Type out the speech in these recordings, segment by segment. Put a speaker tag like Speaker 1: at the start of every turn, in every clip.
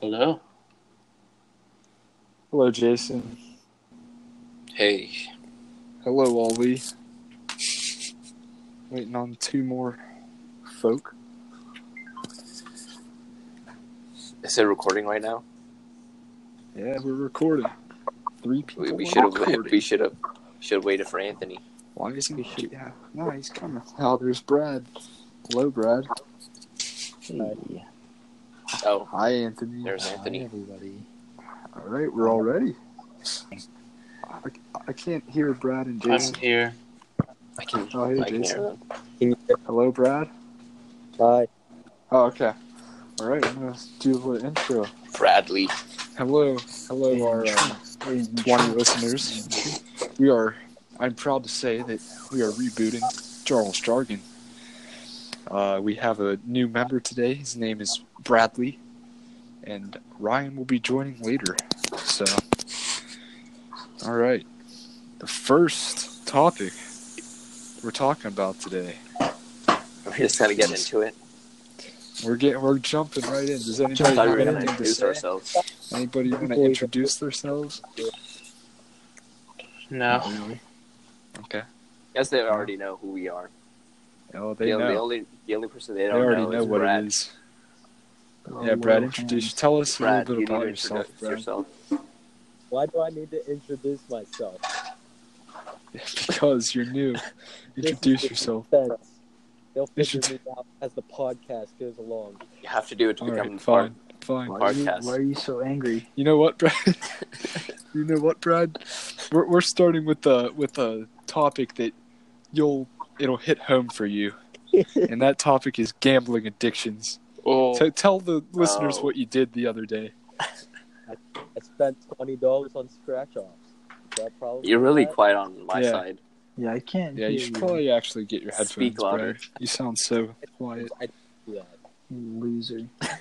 Speaker 1: Hello.
Speaker 2: Hello, Jason.
Speaker 1: Hey.
Speaker 2: Hello, Ollie. Waiting on two more folk.
Speaker 1: Is it recording right now?
Speaker 2: Yeah, we're recording. Three people.
Speaker 1: We, we
Speaker 2: are
Speaker 1: should have.
Speaker 2: recording.
Speaker 1: We should have. Should have waited for Anthony.
Speaker 2: Why is he? Yeah, no, he's coming. Oh, there's Brad. Hello, Brad.
Speaker 3: Hey,
Speaker 1: Oh,
Speaker 2: Hi, Anthony.
Speaker 1: There's
Speaker 3: hi,
Speaker 1: Anthony.
Speaker 3: everybody.
Speaker 2: All right, we're all ready. I, I can't hear Brad and Jason.
Speaker 1: I'm here. I can.
Speaker 2: Oh, hey,
Speaker 1: I can hear
Speaker 2: Jason.
Speaker 1: them.
Speaker 2: Hello, Brad.
Speaker 3: Hi.
Speaker 2: Oh, okay. All right, I'm gonna do a little intro.
Speaker 1: Bradley.
Speaker 2: Hello, hello, our uh, 20 listeners. We are, I'm proud to say that we are rebooting Charles Jargon. Uh, we have a new member today. His name is Bradley, and Ryan will be joining later. So, all right. The first topic we're talking about today.
Speaker 1: We're just gonna get into it.
Speaker 2: We're getting, we're jumping right in. Does anybody
Speaker 1: I thought we
Speaker 2: have
Speaker 1: were gonna
Speaker 2: anything to
Speaker 1: introduce
Speaker 2: say?
Speaker 1: ourselves.
Speaker 2: Anybody want to introduce themselves?
Speaker 4: No.
Speaker 2: really. Okay.
Speaker 1: Yes, they already know who we are.
Speaker 2: Oh,
Speaker 1: The,
Speaker 2: they know.
Speaker 1: the only the only person they
Speaker 2: They
Speaker 1: don't
Speaker 2: already
Speaker 1: know,
Speaker 2: know
Speaker 1: is
Speaker 2: what
Speaker 1: Brad.
Speaker 2: it is. Yeah, Brad, introduce. Tell us
Speaker 1: Brad,
Speaker 2: a
Speaker 1: you
Speaker 2: little
Speaker 1: need
Speaker 2: bit
Speaker 1: to
Speaker 2: about
Speaker 1: introduce
Speaker 2: yourself, Brad.
Speaker 1: yourself.
Speaker 3: Why do I need to introduce myself?
Speaker 2: because you're new. Introduce
Speaker 3: This is
Speaker 2: yourself.
Speaker 3: defense. They'll figure
Speaker 2: Introdu-
Speaker 3: me out as the podcast goes along.
Speaker 1: You have to do it to
Speaker 2: All
Speaker 1: become
Speaker 2: right,
Speaker 1: part.
Speaker 2: fine, fine.
Speaker 1: Why are you- Podcast. why are
Speaker 4: you so angry?
Speaker 2: You know what, Brad? you know what, Brad? We're we're starting with the with a topic that you'll it'll hit home for you, and that topic is gambling addictions.
Speaker 4: Oh,
Speaker 2: So tell the listeners
Speaker 1: Oh.
Speaker 2: what you did the other day.
Speaker 3: I spent twenty dollars on scratch offs. That probably
Speaker 1: You're really
Speaker 3: bad?
Speaker 1: quiet on my
Speaker 2: Yeah.
Speaker 1: side.
Speaker 4: Yeah, I can't.
Speaker 2: Yeah, you
Speaker 4: hear
Speaker 2: should probably actually get your headphones.
Speaker 1: Speak louder.
Speaker 2: Brad. You sound so quiet.
Speaker 3: I didn't do that.
Speaker 4: you loser.
Speaker 3: You got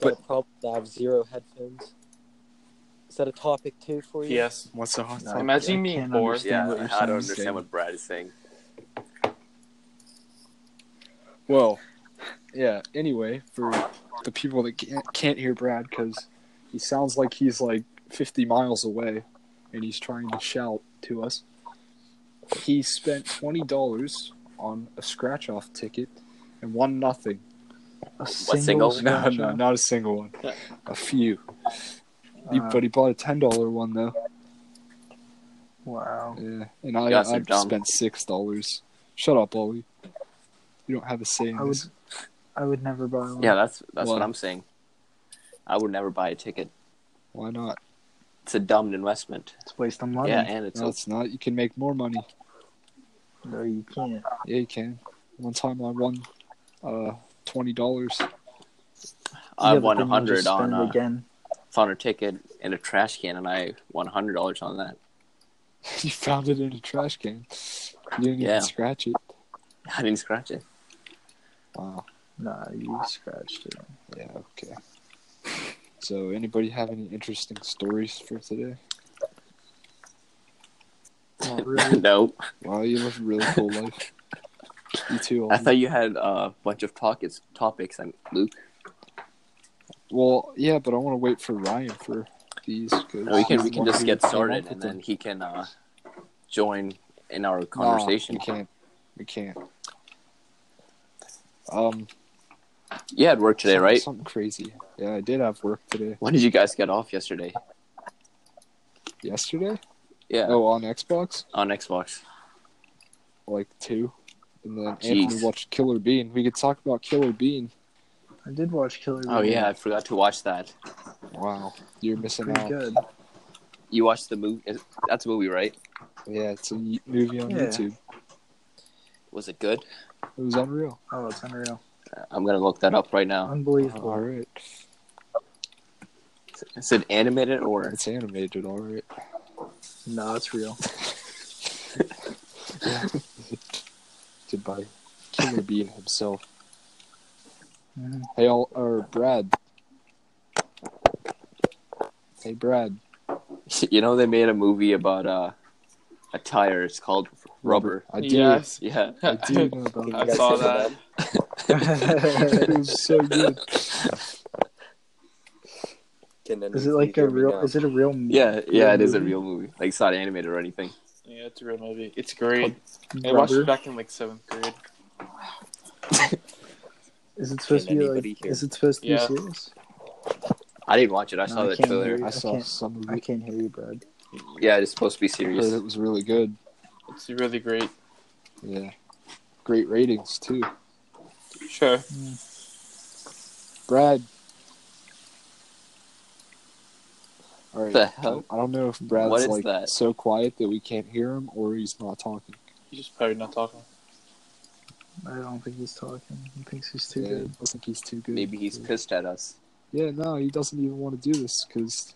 Speaker 2: But-
Speaker 3: a problem? that I have zero headphones. Is that a topic too for you?
Speaker 4: Yes.
Speaker 2: What's the hot
Speaker 4: No, I-
Speaker 2: topic?
Speaker 4: Imagine
Speaker 2: I
Speaker 4: being
Speaker 2: can't
Speaker 4: bored.
Speaker 2: understand
Speaker 1: Yeah,
Speaker 2: what you're
Speaker 1: I don't
Speaker 2: saying.
Speaker 1: understand what Brad is saying.
Speaker 2: Well, yeah. Anyway, for the people that can't, can't hear Brad because he sounds like he's like 50 miles away and he's trying to shout to us. He spent twenty dollars on a scratch off ticket and won nothing.
Speaker 4: A
Speaker 1: single?
Speaker 2: No,
Speaker 4: scratch
Speaker 2: no,
Speaker 4: off?
Speaker 2: not a single one. A few. He-
Speaker 4: Uh,
Speaker 2: but he bought a ten dollar one though.
Speaker 4: Wow.
Speaker 2: Yeah, and I,
Speaker 1: Guys are
Speaker 2: I
Speaker 1: dumb.
Speaker 2: spent six dollars. Shut up, Ollie. You don't have a say in
Speaker 4: I would.
Speaker 2: this.
Speaker 4: I would never buy one.
Speaker 1: Yeah, that's that's
Speaker 2: Well-
Speaker 1: what I'm saying. I would never buy a ticket.
Speaker 2: Why not?
Speaker 1: It's a dumb investment.
Speaker 4: It's a waste of money.
Speaker 1: Yeah, and it's
Speaker 2: No,
Speaker 1: a,
Speaker 2: it's not. You can make more money.
Speaker 4: No, you can't.
Speaker 2: Yeah, you can. One time I won uh, twenty dollars.
Speaker 1: I
Speaker 4: Yeah, but
Speaker 1: won
Speaker 4: then you
Speaker 1: hundred
Speaker 4: just
Speaker 1: on uh,
Speaker 4: spend it
Speaker 1: a,
Speaker 4: again.
Speaker 1: found a ticket in a trash can, and I won hundred dollars on that.
Speaker 2: you found it in a trash can. You didn't
Speaker 1: Yeah.
Speaker 2: even scratch it.
Speaker 1: I didn't scratch it.
Speaker 2: Wow.
Speaker 4: Nah, you scratched it.
Speaker 2: Yeah. Okay. So, anybody have any interesting stories for today?
Speaker 4: Not really.
Speaker 1: no,
Speaker 2: Wow, you live a really cool life. You too.
Speaker 1: I
Speaker 2: Ollie.
Speaker 1: thought you had a bunch of topics. Topics, and Luke.
Speaker 2: well, yeah, but I want to wait for Ryan for these. 'cause
Speaker 1: We can
Speaker 2: he's
Speaker 1: we
Speaker 2: the
Speaker 1: can
Speaker 2: one
Speaker 1: just
Speaker 2: who
Speaker 1: get
Speaker 2: came
Speaker 1: started,
Speaker 2: up
Speaker 1: and
Speaker 2: with
Speaker 1: then
Speaker 2: them.
Speaker 1: he can uh, join in our
Speaker 2: Nah,
Speaker 1: conversation.
Speaker 2: we can't. We can't. Um.
Speaker 1: you had work today,
Speaker 2: something-
Speaker 1: right?
Speaker 2: Something crazy. Yeah, I did have work today.
Speaker 1: When did you guys get off yesterday?
Speaker 2: Yesterday?
Speaker 1: Yeah,
Speaker 2: Oh, on Xbox,
Speaker 1: on Xbox.
Speaker 2: like two, and then
Speaker 1: Jeez.
Speaker 2: Anthony watched Killer Bean. We could talk about Killer Bean.
Speaker 4: I did watch Killer.
Speaker 1: Oh
Speaker 4: Bee.
Speaker 1: yeah, I forgot to watch that.
Speaker 2: Wow, you're missing
Speaker 4: pretty
Speaker 2: out.
Speaker 4: good.
Speaker 1: You watched the movie. That's a movie, right?
Speaker 2: Yeah, it's a y- movie on
Speaker 4: Yeah.
Speaker 2: YouTube.
Speaker 1: Was it good?
Speaker 2: It was unreal.
Speaker 4: Oh, it's unreal.
Speaker 1: I'm gonna look that up right now.
Speaker 4: Unbelievable.
Speaker 2: All right,
Speaker 1: Is it animated or
Speaker 2: it's animated. All right.
Speaker 4: No, it's real.
Speaker 2: Did by Killer Bean himself.
Speaker 4: Mhm.
Speaker 2: Hey, all, or Brad. Hey, Brad.
Speaker 1: you know they made a movie about uh, a tire. It's called Rubber.
Speaker 2: I did.
Speaker 4: Yes.
Speaker 1: Yeah,
Speaker 2: I do know about
Speaker 4: I
Speaker 2: that.
Speaker 4: saw
Speaker 3: that.
Speaker 2: it was so good.
Speaker 3: Can anyone
Speaker 4: Is it like
Speaker 3: hear
Speaker 4: a
Speaker 3: me
Speaker 4: real?
Speaker 3: now?
Speaker 4: Is it a real?
Speaker 1: Yeah, yeah,
Speaker 4: Real
Speaker 1: it is a
Speaker 4: movie?
Speaker 1: real movie. Like it's not animated or anything.
Speaker 5: Yeah, it's a real movie. It's great. I watched
Speaker 4: rubber?
Speaker 5: it back in like seventh grade.
Speaker 4: Is it supposed
Speaker 3: Can
Speaker 4: to be
Speaker 3: anybody
Speaker 4: like?
Speaker 3: hear?
Speaker 4: Is it supposed to
Speaker 5: Yeah.
Speaker 4: be serious?
Speaker 1: I didn't watch it. I
Speaker 4: No,
Speaker 1: saw
Speaker 4: I
Speaker 1: the
Speaker 4: can't
Speaker 1: trailer.
Speaker 4: hear
Speaker 2: I
Speaker 4: I
Speaker 2: saw
Speaker 4: can't-
Speaker 2: some of
Speaker 4: I
Speaker 2: it.
Speaker 4: can't hear you, Brad.
Speaker 1: Yeah, it's supposed to be serious.
Speaker 2: Heard it was really good.
Speaker 5: It's really great.
Speaker 2: Yeah, great ratings too.
Speaker 5: Sure.
Speaker 2: Brad. All
Speaker 1: What
Speaker 2: right.
Speaker 1: the hell?
Speaker 2: I don't know if Brad's
Speaker 1: What is
Speaker 2: like
Speaker 1: that?
Speaker 2: so quiet that we can't hear him, or he's not talking.
Speaker 5: He's just probably not talking.
Speaker 4: I don't think he's talking. He thinks he's too
Speaker 2: Yeah,
Speaker 4: good.
Speaker 2: I think he's too good.
Speaker 1: Maybe he's pissed at us.
Speaker 2: Yeah, no, he doesn't even want to do this because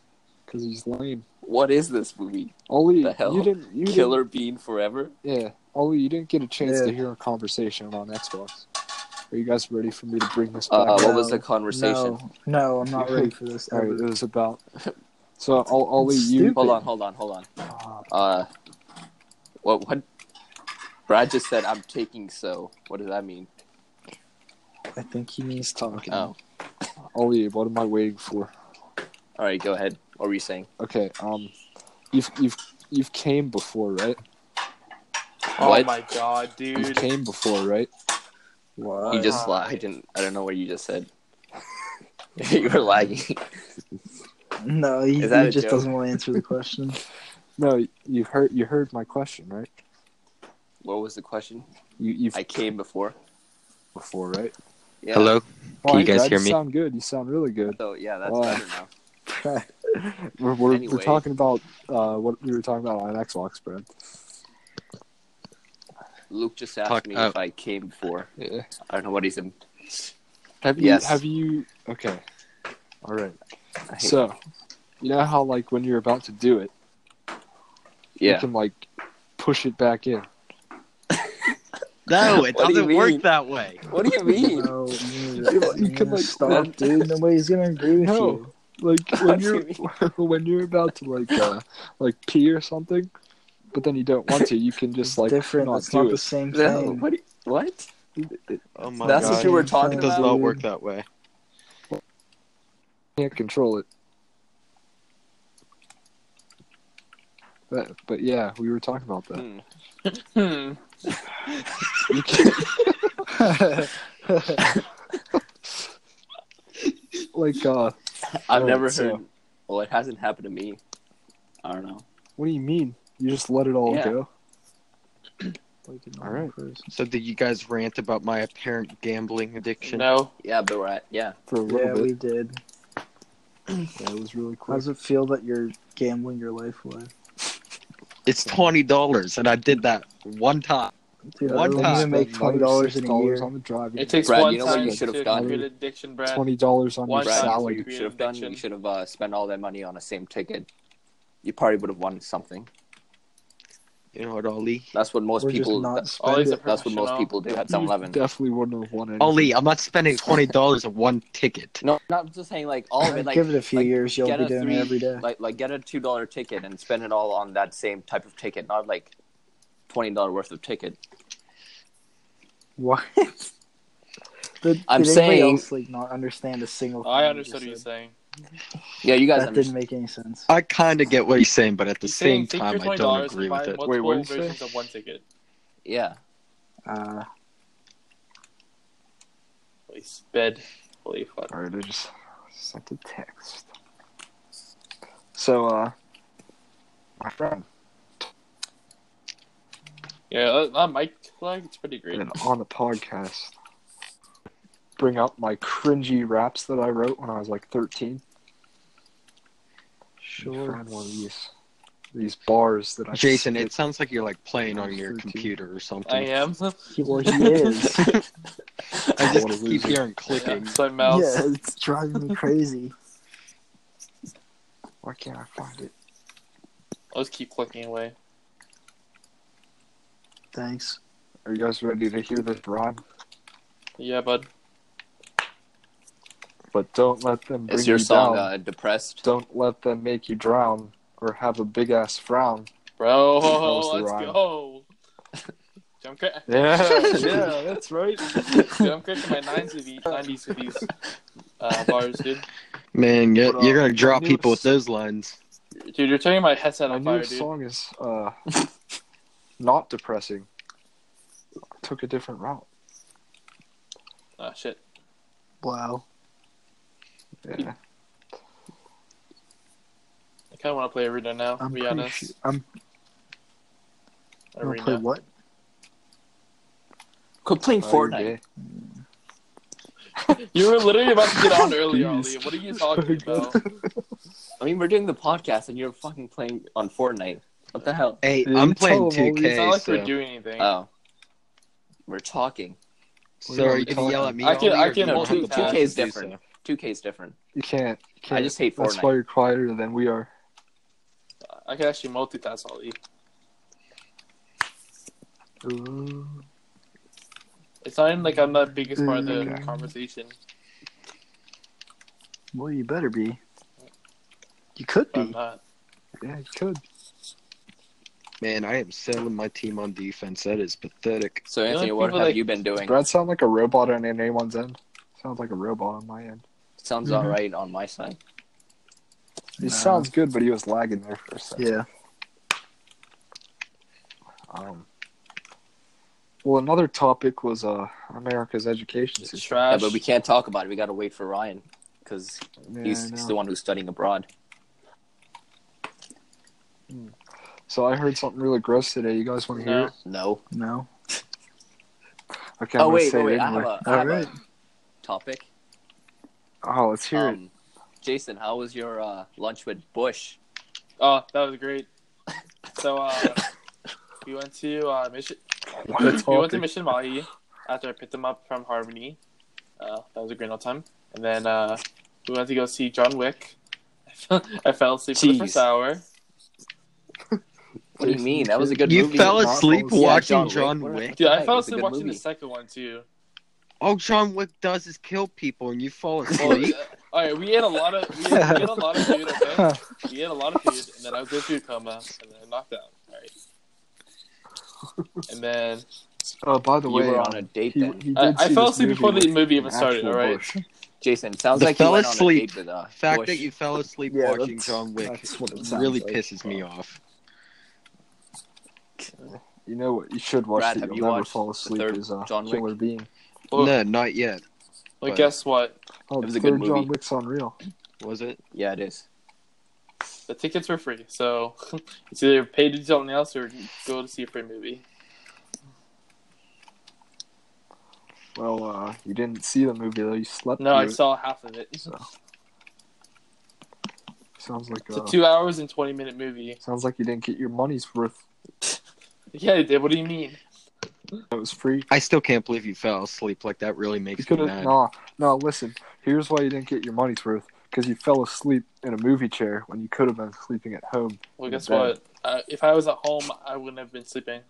Speaker 2: he's lame.
Speaker 1: What is this movie?
Speaker 2: Ollie,
Speaker 1: The hell?
Speaker 2: you didn't. You
Speaker 1: Killer Bean Forever?
Speaker 2: Didn't, yeah, Ollie, you didn't get a chance
Speaker 4: Yeah.
Speaker 2: to hear a conversation on Xbox. Are you guys ready for me to bring this back?
Speaker 1: Uh,
Speaker 2: up?
Speaker 1: what was the
Speaker 4: No,
Speaker 1: conversation?
Speaker 4: No, no, I'm not ready for this.
Speaker 2: All
Speaker 4: ever.
Speaker 2: right, it was about. So Ol- Ollie, you
Speaker 4: Stupid.
Speaker 1: Hold on, hold on, hold on.
Speaker 2: Ah,
Speaker 1: Uh, what? What? Brad just said I'm taking so. What does that mean?
Speaker 4: I think he
Speaker 2: he's
Speaker 4: means
Speaker 2: talking.
Speaker 1: Oh,
Speaker 2: Ollie, what am I waiting for?
Speaker 1: all right. Go ahead. What were you saying?
Speaker 2: Okay, um, you've you've you've came before, right?
Speaker 5: Oh
Speaker 1: What?
Speaker 5: my god,
Speaker 2: You've
Speaker 5: dude.
Speaker 2: came before, right?
Speaker 4: what?
Speaker 1: You just li- I didn't. I don't know what you just said. you were lagging.
Speaker 4: no, he,
Speaker 1: Is that
Speaker 4: he
Speaker 1: a
Speaker 4: just
Speaker 1: joke?
Speaker 4: doesn't want to answer the question.
Speaker 2: No, you heard you heard my question, right?
Speaker 1: What was the question?
Speaker 2: You you've
Speaker 1: I came before.
Speaker 2: before, right?
Speaker 1: Yeah.
Speaker 6: Hello. Can you
Speaker 2: hey,
Speaker 6: guys
Speaker 2: Brad,
Speaker 6: hear
Speaker 2: you
Speaker 6: me?
Speaker 2: sound good. You sound really good.
Speaker 1: So yeah, that's
Speaker 2: Wow.
Speaker 1: better now.
Speaker 2: We're we're, we're
Speaker 1: Anyway.
Speaker 2: talking about uh, what we were talking about on Xbox, Brad.
Speaker 1: Luke just asked
Speaker 6: Talk-
Speaker 1: me
Speaker 6: oh.
Speaker 1: if I came before.
Speaker 2: Yeah.
Speaker 1: I don't know what he's in.
Speaker 2: Have you?
Speaker 1: Yes.
Speaker 2: Have you? Okay. All right.
Speaker 1: I hate-
Speaker 2: So, you know how like when you're about to do it, you
Speaker 1: yeah.
Speaker 2: can like push it back in.
Speaker 6: No, it
Speaker 1: What do you
Speaker 6: doesn't work
Speaker 1: mean?
Speaker 6: that way.
Speaker 1: What do you mean?
Speaker 4: No, you,
Speaker 2: You
Speaker 4: you
Speaker 2: can, like,
Speaker 4: stop, dude. Nobody's gonna agree with
Speaker 2: No.
Speaker 4: you.
Speaker 2: Like when
Speaker 1: What do
Speaker 2: you're when you're about to like uh, like pee or something, but then you don't want to, you can just
Speaker 4: It's
Speaker 2: like
Speaker 4: different.
Speaker 2: not
Speaker 4: It's not
Speaker 2: do
Speaker 4: the
Speaker 2: it.
Speaker 4: same
Speaker 1: No,
Speaker 4: thing.
Speaker 1: what? do you- What?
Speaker 6: Oh my
Speaker 1: That's
Speaker 6: god.
Speaker 1: what you were talking
Speaker 6: it does
Speaker 1: about.
Speaker 6: not work that way.
Speaker 2: Can't control it. But but yeah, we were talking about that.
Speaker 1: Hmm.
Speaker 5: Hmm.
Speaker 2: You can't, like uh,
Speaker 1: I've
Speaker 2: Alright,
Speaker 1: never heard.
Speaker 6: uh,
Speaker 2: so-
Speaker 1: Well, it hasn't happened to me. I don't know.
Speaker 2: what do you mean? You just let it all
Speaker 1: Yeah.
Speaker 2: go?
Speaker 4: Like a
Speaker 2: All
Speaker 4: normal
Speaker 2: right.
Speaker 4: person.
Speaker 6: So did you guys rant about my apparent gambling addiction?
Speaker 5: No.
Speaker 1: Yeah, but we're at yeah.
Speaker 2: for a
Speaker 4: Yeah,
Speaker 2: little
Speaker 4: we
Speaker 2: bit.
Speaker 4: did.
Speaker 2: Yeah, it was really
Speaker 4: How
Speaker 2: quick.
Speaker 4: does it feel that you're gambling your life away?
Speaker 6: It's twenty dollars, and I did that one time.
Speaker 4: Dude,
Speaker 6: One
Speaker 4: I
Speaker 6: time.
Speaker 4: only make twenty dollars in a year.
Speaker 2: $26 on the driving.
Speaker 5: It takes
Speaker 1: Brad,
Speaker 5: one
Speaker 1: you know what
Speaker 5: time
Speaker 1: you should have
Speaker 5: to
Speaker 1: done?
Speaker 5: create addiction, Brad.
Speaker 2: twenty dollars on your
Speaker 5: One
Speaker 1: Brad, you know what
Speaker 2: salad.
Speaker 1: you
Speaker 5: Create
Speaker 1: should have done. You
Speaker 5: addiction.
Speaker 1: should have uh, spent all that money on the same ticket. You probably would have won something.
Speaker 6: You know what, Ollie?
Speaker 1: That's what most
Speaker 4: We're just
Speaker 1: people.
Speaker 4: not
Speaker 1: That,
Speaker 4: spending.
Speaker 5: Ollie's a
Speaker 1: that's what most
Speaker 5: professional.
Speaker 1: people do at
Speaker 2: You
Speaker 1: 7-Eleven.
Speaker 2: Definitely wouldn't have won anything.
Speaker 6: Ollie, I'm not spending twenty dollars on one ticket.
Speaker 1: No, no, I'm just saying like all of it. Oh, Like,
Speaker 4: Give it a few
Speaker 1: like,
Speaker 4: years, you'll
Speaker 1: get
Speaker 4: be
Speaker 1: a
Speaker 4: doing
Speaker 1: three-
Speaker 4: it every day.
Speaker 1: like like get a two dollar ticket and spend it all on that same type of ticket, not like twenty dollar worth of ticket.
Speaker 4: What? Did,
Speaker 1: I'm
Speaker 4: did anybody
Speaker 1: saying-
Speaker 4: else, like not understand a single. thing
Speaker 5: Oh, I
Speaker 4: you
Speaker 5: understood
Speaker 4: just
Speaker 5: what you're
Speaker 4: said?
Speaker 5: saying.
Speaker 1: Yeah, you guys. Uh,
Speaker 4: That didn't make any sense.
Speaker 6: I kind of get what he's saying, but at the
Speaker 5: He's
Speaker 6: same
Speaker 5: saying, take
Speaker 6: time,
Speaker 5: your
Speaker 6: I
Speaker 5: $20
Speaker 6: don't
Speaker 5: and
Speaker 6: agree
Speaker 5: buy
Speaker 6: with it.
Speaker 5: Multiple
Speaker 2: what'd you say?
Speaker 5: versions of one ticket.
Speaker 1: Yeah,
Speaker 4: Uh,
Speaker 5: Holy sped. Holy fuck.
Speaker 2: All right, I just sent a text. So, uh, my friend,
Speaker 5: Yeah, that, that mic flag, it's pretty great.
Speaker 2: and on the podcast, bring up my cringy raps that I wrote when I was like thirteen. Let me
Speaker 4: sure.
Speaker 2: Find one of these these bars that I
Speaker 6: Jason,
Speaker 2: spit.
Speaker 6: it sounds like you're like playing on your
Speaker 2: 13.
Speaker 6: computer or
Speaker 5: I
Speaker 6: something.
Speaker 5: am.
Speaker 4: He, well, he is.
Speaker 6: I just
Speaker 2: What a
Speaker 6: keep
Speaker 2: loser.
Speaker 6: hearing
Speaker 5: Yeah,
Speaker 6: clicking.
Speaker 5: so mouse.
Speaker 4: yeah, it's driving me crazy.
Speaker 2: Why can't I find it?
Speaker 5: I'll just keep clicking away.
Speaker 4: Thanks.
Speaker 2: Are you guys ready to hear this rhyme?
Speaker 5: Yeah, bud.
Speaker 2: But don't let them bring
Speaker 1: is your
Speaker 2: you
Speaker 1: song
Speaker 2: down.
Speaker 1: uh, depressed?
Speaker 2: Don't let them make you drown or have a big ass frown.
Speaker 5: Bro,
Speaker 2: was the
Speaker 5: let's
Speaker 2: rhyme.
Speaker 5: go. Jump crit.
Speaker 2: Yeah, yeah, that's right.
Speaker 5: Jump crit to my 90s, 90s of these uh, bars, dude.
Speaker 6: Man, you're,
Speaker 2: But, uh,
Speaker 6: you're gonna draw
Speaker 2: new
Speaker 6: people with
Speaker 2: s-
Speaker 6: those lines.
Speaker 5: Dude, you're turning my headset
Speaker 2: My
Speaker 5: on
Speaker 2: new
Speaker 5: fire, dude.
Speaker 2: song is uh, not depressing. Took a different route.
Speaker 5: Oh, shit.
Speaker 4: Wow.
Speaker 2: Yeah.
Speaker 5: I kind of want to play Arena now, to
Speaker 4: I'm
Speaker 5: be
Speaker 4: pretty
Speaker 5: honest.
Speaker 4: sure. I'm
Speaker 2: Uh,
Speaker 4: gonna play
Speaker 5: Arena.
Speaker 4: what?
Speaker 1: Quit playing
Speaker 2: Oh, you're
Speaker 1: Fortnite.
Speaker 2: gay.
Speaker 5: You were literally about to get on earlier, Ollie.
Speaker 2: Jeez.
Speaker 5: What are you talking about?
Speaker 1: I mean, we're doing the podcast and you're fucking playing on Fortnite. What the hell?
Speaker 6: Hey,
Speaker 2: Yeah,
Speaker 6: I'm
Speaker 2: you
Speaker 6: playing
Speaker 2: tell 'em, Ollie.
Speaker 5: It's not
Speaker 6: 2K.
Speaker 5: like
Speaker 6: So,
Speaker 5: we're doing anything.
Speaker 1: Oh, we're talking.
Speaker 6: so are you gonna yell at me?
Speaker 5: I can-
Speaker 6: Ollie,
Speaker 5: I
Speaker 6: or
Speaker 5: can
Speaker 6: do you
Speaker 5: multitask.
Speaker 6: want to
Speaker 1: 2K is
Speaker 6: do so?
Speaker 1: different. 2K is different.
Speaker 2: You can't. You can't.
Speaker 1: I just hate
Speaker 2: That's
Speaker 1: Fortnite.
Speaker 2: why you're quieter than we are.
Speaker 5: I can actually multitask, Ollie.
Speaker 4: Ooh.
Speaker 5: It's not even like I'm the biggest part of the
Speaker 4: Okay.
Speaker 5: conversation.
Speaker 4: Well, you better be. You could
Speaker 5: But I'm
Speaker 4: be.
Speaker 5: not.
Speaker 2: Yeah, you could.
Speaker 6: Man, I am selling my team on defense. That is pathetic.
Speaker 1: So
Speaker 5: The only
Speaker 1: Anthony, what
Speaker 5: people
Speaker 1: have
Speaker 5: that-
Speaker 1: you been doing?
Speaker 2: Brad sound like a robot on anyone's end. Sounds like a robot on my end.
Speaker 1: Sounds
Speaker 4: Mhm.
Speaker 1: all right on my side.
Speaker 2: He
Speaker 4: Nah.
Speaker 2: sounds good, but he was lagging there for a second.
Speaker 4: Yeah.
Speaker 2: Um, well, another topic was uh, America's education
Speaker 5: It's
Speaker 2: system.
Speaker 1: Yeah,
Speaker 5: trash.
Speaker 1: but we can't talk about it. We got to wait for Ryan because
Speaker 2: Yeah, I
Speaker 1: he's,
Speaker 2: know.
Speaker 1: he's the one who's studying abroad.
Speaker 2: So I heard something really gross today. You guys want to hear
Speaker 5: No.
Speaker 2: it?
Speaker 1: No.
Speaker 4: No.
Speaker 2: Okay,
Speaker 1: oh
Speaker 2: I'm
Speaker 1: wait,
Speaker 2: gonna say
Speaker 1: wait,
Speaker 2: it
Speaker 1: wait. I
Speaker 2: anyway.
Speaker 1: have a, I
Speaker 4: All
Speaker 1: have
Speaker 4: right.
Speaker 1: a topic.
Speaker 2: Oh, let's hear it.
Speaker 1: Um, Jason, how was your uh, lunch with Bush?
Speaker 5: Oh, that was great. So uh, we went to uh, Mission.
Speaker 2: What a
Speaker 5: We went to
Speaker 2: topic.
Speaker 5: Mission Mahi after I picked them up from Harmony. Uh, that was a great old time. And then uh, we went to go see John Wick. I fell asleep for the
Speaker 1: Jeez.
Speaker 5: first hour.
Speaker 1: What do you mean? That was a good
Speaker 6: you
Speaker 1: movie.
Speaker 6: fell
Speaker 2: Not
Speaker 6: asleep
Speaker 2: falling
Speaker 1: asleep.
Speaker 6: watching
Speaker 1: Yeah, John
Speaker 6: John
Speaker 1: Wick.
Speaker 6: Wick.
Speaker 5: Dude,
Speaker 1: Right,
Speaker 5: I
Speaker 1: it
Speaker 5: fell
Speaker 1: was a
Speaker 5: asleep
Speaker 1: good
Speaker 5: watching
Speaker 1: movie.
Speaker 5: the second one too.
Speaker 6: All John Wick does is kill people, and you fall
Speaker 5: Well, uh,
Speaker 6: asleep.
Speaker 5: all right, we ate a lot of we ate, we ate a lot of food. Okay, we ate a lot of food, and then I was in food coma, and then I knocked out. All right, and then
Speaker 2: Uh, by the
Speaker 1: You
Speaker 2: way,
Speaker 1: were
Speaker 2: um,
Speaker 1: on a date
Speaker 2: he,
Speaker 1: then.
Speaker 2: he did
Speaker 5: I, I
Speaker 2: see
Speaker 5: fell
Speaker 2: this
Speaker 5: asleep before
Speaker 2: movie
Speaker 5: the
Speaker 2: with
Speaker 5: movie even
Speaker 2: an
Speaker 5: started.
Speaker 2: actual
Speaker 5: All right,
Speaker 2: bush.
Speaker 1: Jason, sounds
Speaker 6: The
Speaker 1: like you
Speaker 6: fell
Speaker 1: went on a
Speaker 6: asleep
Speaker 1: date with uh,
Speaker 6: The fact
Speaker 1: Bush.
Speaker 6: that you fell asleep
Speaker 2: Yeah,
Speaker 6: watching
Speaker 2: that's-
Speaker 6: John Wick
Speaker 2: that's what it sounds
Speaker 6: really
Speaker 2: like.
Speaker 6: pisses me off.
Speaker 2: You know what? You should watch.
Speaker 1: Brad,
Speaker 2: that
Speaker 1: have
Speaker 2: you'll
Speaker 1: you
Speaker 2: never
Speaker 1: watched
Speaker 2: fall
Speaker 1: the
Speaker 2: asleep.
Speaker 1: third
Speaker 2: Is uh,
Speaker 1: John Wick?
Speaker 2: Killer Bean.
Speaker 5: well,
Speaker 6: no, not yet.
Speaker 5: well,
Speaker 6: but-
Speaker 5: guess what?
Speaker 2: Oh,
Speaker 1: It was
Speaker 2: the
Speaker 1: a good
Speaker 2: third John
Speaker 1: movie.
Speaker 2: Wick's unreal.
Speaker 6: Was it?
Speaker 1: Yeah, it is.
Speaker 5: The tickets were free, so it's either pay to do something else or go to see a free movie.
Speaker 2: Well, uh, you didn't see the movie though. You slept.
Speaker 5: No, I
Speaker 2: through it.
Speaker 5: saw half of it. It's
Speaker 2: Sounds like
Speaker 5: a
Speaker 2: uh,
Speaker 5: two hours and twenty minute movie.
Speaker 2: sounds like you didn't get your money's worth.
Speaker 5: Yeah, I did. What do you mean?
Speaker 2: It was free.
Speaker 6: I still can't believe you fell asleep. Like that really
Speaker 2: You
Speaker 6: makes me
Speaker 2: could have.
Speaker 6: mad.
Speaker 2: Nah, nah. Listen, here's why you didn't get your money's worth. Because you fell asleep in a movie chair when you could have been sleeping at home.
Speaker 5: Well, guess
Speaker 2: Bad.
Speaker 5: what? Uh, if I was at home, I wouldn't have been sleeping.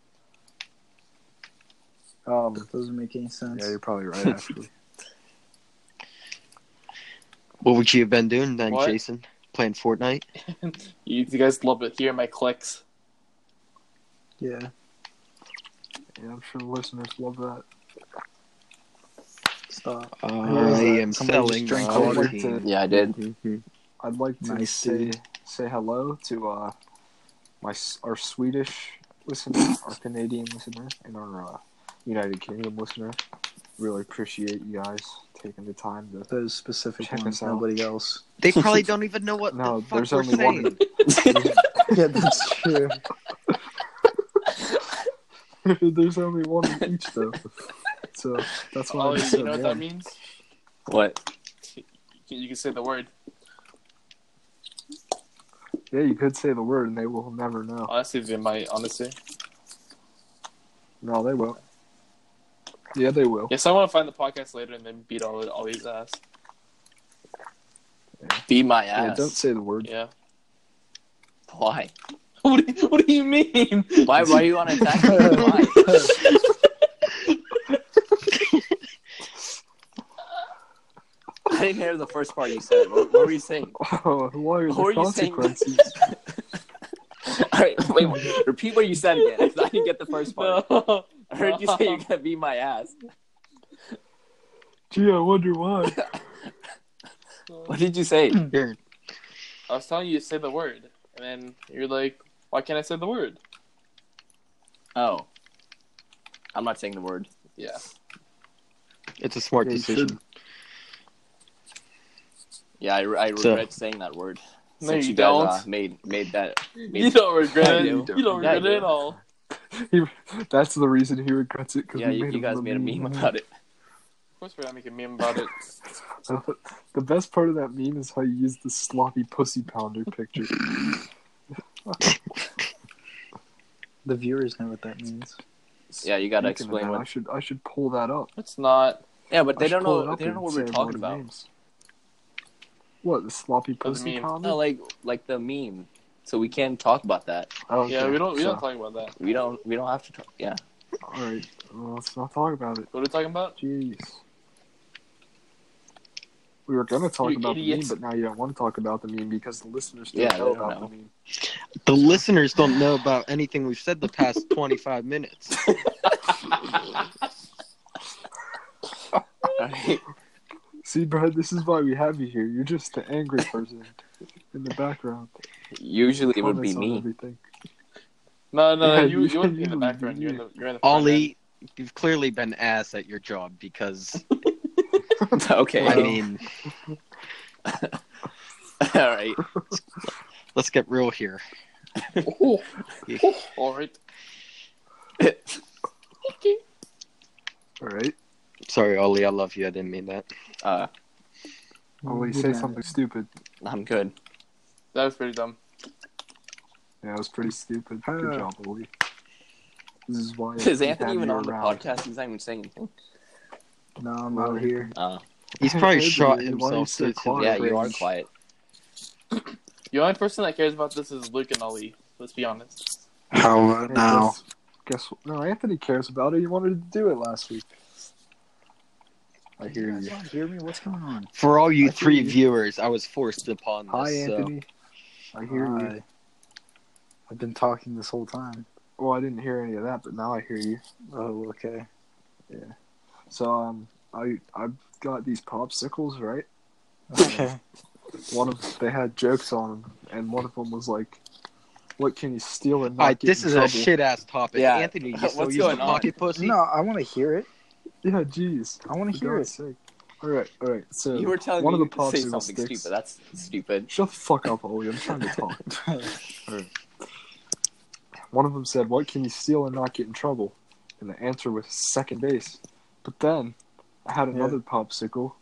Speaker 2: Um,
Speaker 4: That doesn't make any sense.
Speaker 2: yeah, you're probably right. Actually,
Speaker 6: What would you have been doing then,
Speaker 5: What?
Speaker 6: Jason? Playing Fortnite?
Speaker 5: You, you guys love to hear my clicks.
Speaker 4: Yeah.
Speaker 2: yeah, I'm sure the listeners love that.
Speaker 4: Stop.
Speaker 6: I am
Speaker 4: Somebody just
Speaker 6: selling
Speaker 2: drank
Speaker 6: my
Speaker 2: all
Speaker 6: whole
Speaker 2: of it.
Speaker 6: team.
Speaker 1: Yeah, I did.
Speaker 6: Mhm.
Speaker 2: I'd like to
Speaker 4: Nice,
Speaker 2: say
Speaker 4: dude.
Speaker 2: say hello to uh my s- our Swedish listener, our Canadian listener, and our uh, United Kingdom listener. Really appreciate you guys taking the time to.
Speaker 4: Those specific
Speaker 2: Check us
Speaker 4: ones.
Speaker 2: out.
Speaker 4: Nobody else.
Speaker 6: They probably don't even know what
Speaker 2: No,
Speaker 6: the fuck
Speaker 2: there's
Speaker 6: we're
Speaker 2: only
Speaker 6: saying.
Speaker 2: one.
Speaker 4: yeah, that's true.
Speaker 2: There's only one in each though. So that's why.
Speaker 5: Oh,
Speaker 2: I
Speaker 5: you know what
Speaker 2: said
Speaker 5: that
Speaker 2: one.
Speaker 5: means?
Speaker 1: What?
Speaker 5: You- You can say the word.
Speaker 2: Yeah, you could say the word, and they will never know.
Speaker 5: Honestly, they might. Honestly,
Speaker 2: No, they won't. Yeah, they will.
Speaker 5: yes, I want to find the podcast later and then beat all all these ass.
Speaker 1: Be my
Speaker 2: Yeah,
Speaker 1: ass.
Speaker 2: don't say the word.
Speaker 5: Yeah.
Speaker 1: Why?
Speaker 5: What do you, what do you mean?
Speaker 1: Why? Why do you want to attack me? Why? I didn't hear the first part you said. What, what were you saying?
Speaker 2: Oh, what are the
Speaker 1: Who are you saying?
Speaker 2: consequences?
Speaker 1: All right, wait, wait, repeat what you said again. I didn't get the first part.
Speaker 5: No.
Speaker 1: I heard you say you're gonna beat my ass.
Speaker 2: Gee, I wonder why.
Speaker 1: What did you say?
Speaker 6: Here,
Speaker 5: I was telling you to say the word, and then you're like, "Why can't I say the word?"
Speaker 1: Oh, I'm not saying the word.
Speaker 5: Yeah,
Speaker 6: it's a smart
Speaker 2: Yeah, you
Speaker 6: decision.
Speaker 1: Yeah, I, I
Speaker 6: So-
Speaker 1: regret saying that word.
Speaker 5: No,
Speaker 1: Since
Speaker 5: you
Speaker 1: guys,
Speaker 5: don't.
Speaker 1: uh, made made that.
Speaker 5: you don't regret it.
Speaker 1: I do.
Speaker 5: You don't
Speaker 1: Yeah, I
Speaker 5: regret it
Speaker 1: do.
Speaker 5: at all.
Speaker 2: That's the reason he regrets it. 'cause
Speaker 1: Yeah,
Speaker 2: we
Speaker 1: you,
Speaker 2: made
Speaker 1: you
Speaker 2: him
Speaker 1: guys
Speaker 2: the
Speaker 1: made a meme about it.
Speaker 5: Of course, we're not making a meme about it.
Speaker 2: the best part of that meme is how you use the sloppy pussy pounder picture. the viewers know what that means.
Speaker 1: Yeah, you gotta
Speaker 2: Speaking of
Speaker 1: explain
Speaker 2: that, I
Speaker 1: what.
Speaker 2: should I should pull that up.
Speaker 5: It's not
Speaker 1: Yeah, but
Speaker 2: I
Speaker 1: they
Speaker 2: should
Speaker 1: don't
Speaker 2: pull it
Speaker 1: know.
Speaker 2: up
Speaker 1: They don't know
Speaker 2: and
Speaker 1: what
Speaker 2: say
Speaker 1: we're
Speaker 2: all
Speaker 1: talking
Speaker 2: the
Speaker 1: about.
Speaker 2: names. What the sloppy
Speaker 5: the
Speaker 2: pussy
Speaker 5: meme.
Speaker 2: pounder?
Speaker 1: No, like like the meme. So we can't talk about that.
Speaker 2: Oh, okay.
Speaker 5: Yeah, we don't we
Speaker 2: so,
Speaker 5: don't talk about that.
Speaker 1: We don't. We don't have to. Talk. Yeah.
Speaker 2: All right, well, let's not talk about it.
Speaker 5: What are we talking about?
Speaker 2: Jeez. We were gonna talk
Speaker 5: You
Speaker 2: about
Speaker 5: idiots.
Speaker 2: the meme, but now you don't want to talk about the meme because the listeners don't
Speaker 1: Yeah, they
Speaker 2: know
Speaker 1: don't
Speaker 2: about
Speaker 1: know.
Speaker 2: the meme.
Speaker 6: The listeners don't know about anything we've said the past 25 minutes.
Speaker 1: Alright.
Speaker 2: See, Brad, this is why we have you here. You're just the angry person in the background.
Speaker 1: Usually it would be
Speaker 2: Comments on
Speaker 1: me.
Speaker 2: Everything.
Speaker 5: No, no,
Speaker 2: Yeah,
Speaker 5: you
Speaker 2: you-
Speaker 5: you wouldn't be in the
Speaker 2: you-
Speaker 5: background. You're in the you're in the front end.
Speaker 6: Ollie, you've clearly been ass at your job because,
Speaker 1: okay.
Speaker 6: I mean,
Speaker 1: All right.
Speaker 6: let's get real here.
Speaker 5: All right.
Speaker 2: All right.
Speaker 6: Sorry, Ollie, I love you. I didn't mean that.
Speaker 1: Uh,
Speaker 2: Well, you say something stupid.
Speaker 1: I'm good.
Speaker 5: That was pretty dumb.
Speaker 2: Yeah, it was pretty stupid. Good
Speaker 6: Ah.
Speaker 2: job, Oli. This is why.
Speaker 1: Is
Speaker 2: we
Speaker 1: Anthony
Speaker 2: have
Speaker 1: even
Speaker 2: you
Speaker 1: on the
Speaker 2: around.
Speaker 1: podcast? He's not even saying anything.
Speaker 2: No, I'm out here.
Speaker 1: Uh,
Speaker 6: He's
Speaker 2: Hey,
Speaker 6: probably
Speaker 2: Anthony,
Speaker 6: shot
Speaker 2: why are you
Speaker 6: himself
Speaker 2: so
Speaker 6: to, to
Speaker 2: quiet?
Speaker 6: the
Speaker 1: yeah, you are
Speaker 6: grave.
Speaker 1: quiet.
Speaker 5: The only person that cares about this is Luke and Ollie. Let's be honest.
Speaker 2: How about now? Guess, guess what? No, Anthony cares about it. He wanted to do it last week.
Speaker 6: I hear you.
Speaker 2: Hear me? What's going on?
Speaker 6: For all you
Speaker 2: I
Speaker 6: three
Speaker 2: hear you.
Speaker 6: viewers, I was forced upon this.
Speaker 4: Hi,
Speaker 6: so-
Speaker 4: Anthony.
Speaker 2: I hear you.
Speaker 4: I've been talking this whole time.
Speaker 2: Well, I didn't hear any of that, but now I hear you.
Speaker 4: Oh, okay.
Speaker 2: So, um, I I got these popsicles, right?
Speaker 4: Okay.
Speaker 2: one of they had jokes on them, and one of them was like, "What can you steal and not
Speaker 6: Alright,
Speaker 2: get
Speaker 6: this
Speaker 2: in
Speaker 6: is
Speaker 2: trouble?"
Speaker 6: a shit ass topic.
Speaker 1: Yeah.
Speaker 6: Anthony, you still
Speaker 1: What's
Speaker 6: use the
Speaker 1: going on?
Speaker 6: pocket pussy?
Speaker 4: no, I want to hear it.
Speaker 2: Yeah, jeez,
Speaker 4: I want to hear it.
Speaker 2: All right, all right. So
Speaker 1: You were telling
Speaker 2: one
Speaker 1: me
Speaker 2: of the
Speaker 1: to say
Speaker 2: popsicle
Speaker 1: something
Speaker 2: sticks.
Speaker 1: stupid. That's stupid.
Speaker 2: Shut the fuck up, Ollie. I'm trying to talk. all right. One of them said, "What can you steal and not get in trouble?" And the answer was second base. But then I had another popsicle,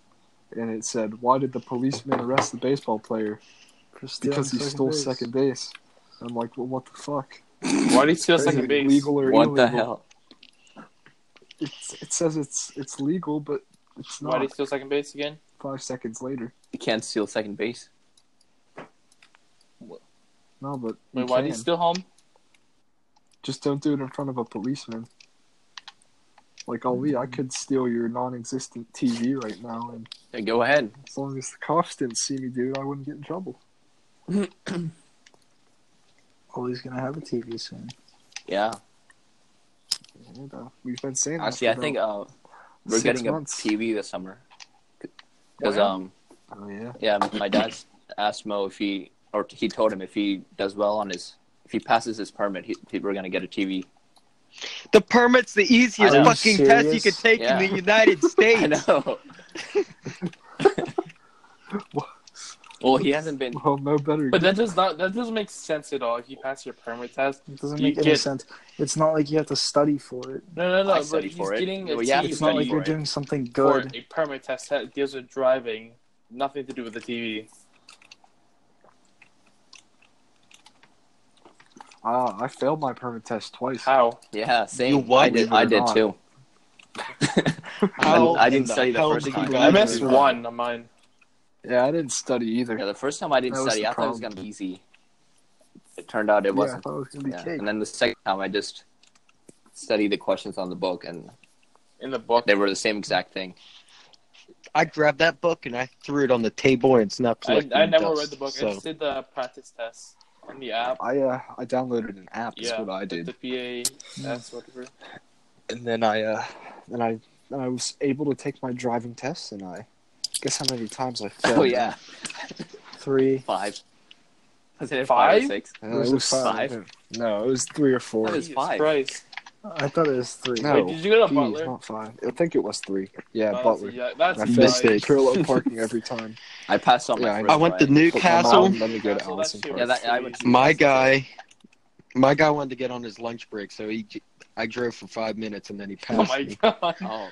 Speaker 2: and it said, "Why did the policeman arrest the baseball player?
Speaker 4: For stealing
Speaker 2: Because he
Speaker 4: second
Speaker 2: stole
Speaker 4: base.
Speaker 2: second base." I'm like, "Well, what the fuck?"
Speaker 5: Why do you steal
Speaker 2: Is
Speaker 5: second
Speaker 2: it
Speaker 5: base?
Speaker 2: Legal or
Speaker 1: What
Speaker 2: illegal?
Speaker 1: the hell?
Speaker 2: It's, it says it's it's legal, but it's
Speaker 5: Why
Speaker 2: not.
Speaker 5: do you steal second base again?
Speaker 2: Five seconds later.
Speaker 1: You can't steal second base.
Speaker 2: No, but
Speaker 5: Wait,
Speaker 2: you
Speaker 5: why do you
Speaker 2: can.
Speaker 5: steal home?
Speaker 2: Just don't do it in front of a policeman. Like Ali, I could steal your non-existent TV right now, and
Speaker 1: Yeah, go ahead.
Speaker 2: as long as the cops didn't see me, dude, I wouldn't get in trouble.
Speaker 4: Oh, he's gonna have a TV soon.
Speaker 1: Yeah.
Speaker 2: And, uh, we've been saying that
Speaker 1: Actually,
Speaker 2: for
Speaker 1: I think
Speaker 2: about-
Speaker 1: uh, we're
Speaker 2: six
Speaker 1: getting
Speaker 2: months.
Speaker 1: a TV this summer. Because
Speaker 5: Wow.
Speaker 1: um,
Speaker 2: oh yeah,
Speaker 1: yeah, my dad asked Mo if he or he told him if he does well on his if he passes his permit, he, he, we're gonna get a TV.
Speaker 6: The permit's the easiest
Speaker 1: Are you
Speaker 6: fucking test you
Speaker 4: serious?
Speaker 6: could take
Speaker 1: Yeah.
Speaker 6: in the United
Speaker 1: I
Speaker 6: States.
Speaker 1: know. well, he hasn't been.
Speaker 2: well, no better.
Speaker 5: But that does not that doesn't make sense at all. If you pass your permit test,
Speaker 4: It doesn't
Speaker 5: You
Speaker 4: make any
Speaker 5: get-
Speaker 4: sense. It's not like you have to study for it.
Speaker 5: no, no, no.
Speaker 1: I
Speaker 5: but
Speaker 1: studied
Speaker 5: he's
Speaker 1: for it.
Speaker 5: getting a
Speaker 1: Well, yeah, I
Speaker 5: TV
Speaker 4: It's not
Speaker 1: studied
Speaker 4: like
Speaker 1: for
Speaker 4: you're
Speaker 1: it.
Speaker 4: doing something
Speaker 5: for
Speaker 4: good.
Speaker 5: a permit test that deals with driving, nothing to do with the TV.
Speaker 2: Ah, I failed my permit test twice.
Speaker 5: How?
Speaker 1: Yeah, same.
Speaker 6: You
Speaker 1: I
Speaker 6: what?
Speaker 1: did.
Speaker 2: Believe it
Speaker 1: I
Speaker 2: or
Speaker 1: did
Speaker 2: not.
Speaker 1: too.
Speaker 6: How
Speaker 1: I didn't
Speaker 6: in
Speaker 1: study the
Speaker 6: hell
Speaker 1: first
Speaker 6: did
Speaker 1: time.
Speaker 6: you
Speaker 5: I
Speaker 6: guys-
Speaker 5: missed one on mine.
Speaker 2: Yeah, I didn't study either.
Speaker 1: Yeah, the first time I didn't
Speaker 2: That was
Speaker 1: study,
Speaker 2: the
Speaker 1: I thought it was
Speaker 2: problem.
Speaker 1: gonna be easy. It turned out it
Speaker 2: Yeah, I
Speaker 1: wasn't.
Speaker 2: thought it was gonna be
Speaker 1: Yeah.
Speaker 2: cake.
Speaker 1: And then the second time, I just studied the questions on the book, and
Speaker 5: In the book.
Speaker 1: they were the same exact thing.
Speaker 6: I grabbed that book and I threw it on the table and it's not
Speaker 5: I,
Speaker 6: collecting
Speaker 5: I never
Speaker 6: dust,
Speaker 5: read the book. I
Speaker 6: So.
Speaker 5: just did the practice test on the app.
Speaker 2: I uh, I downloaded an app. Is
Speaker 5: Yeah,
Speaker 2: what I did.
Speaker 5: Hmm. The PA test, whatever.
Speaker 2: and then I uh, and I and I was able to take my driving test, and I guess how many times I failed.
Speaker 1: Oh yeah,
Speaker 4: Three.
Speaker 1: five. Was it
Speaker 5: Five?
Speaker 1: five or six?
Speaker 2: Uh,
Speaker 4: Was
Speaker 2: it
Speaker 4: it
Speaker 2: was
Speaker 1: five?
Speaker 2: five. No, it was three or four.
Speaker 1: That is
Speaker 5: Jesus
Speaker 1: five.
Speaker 5: Christ.
Speaker 4: I thought it was three.
Speaker 2: No.
Speaker 5: Wait, did you go to
Speaker 2: Jeez,
Speaker 5: Butler?
Speaker 2: not five. I think it was three. Yeah,
Speaker 5: Oh,
Speaker 2: Butler.
Speaker 5: That's a, yeah, that's
Speaker 2: I
Speaker 5: a
Speaker 2: failed
Speaker 6: Mistake.
Speaker 2: parallel parking every time.
Speaker 1: I passed on my.
Speaker 2: Yeah, I-
Speaker 1: first
Speaker 6: I went
Speaker 1: try.
Speaker 6: to
Speaker 2: But my
Speaker 6: Newcastle.
Speaker 2: mom let me go to
Speaker 5: Castle,
Speaker 2: Allison
Speaker 5: that shit
Speaker 2: Park.
Speaker 1: Yeah, that, I went. To
Speaker 6: My guy, my guy wanted to get on his lunch break, so he, I drove for five minutes and then he
Speaker 5: Oh
Speaker 6: passed
Speaker 5: my
Speaker 6: me.
Speaker 5: god.
Speaker 1: Oh,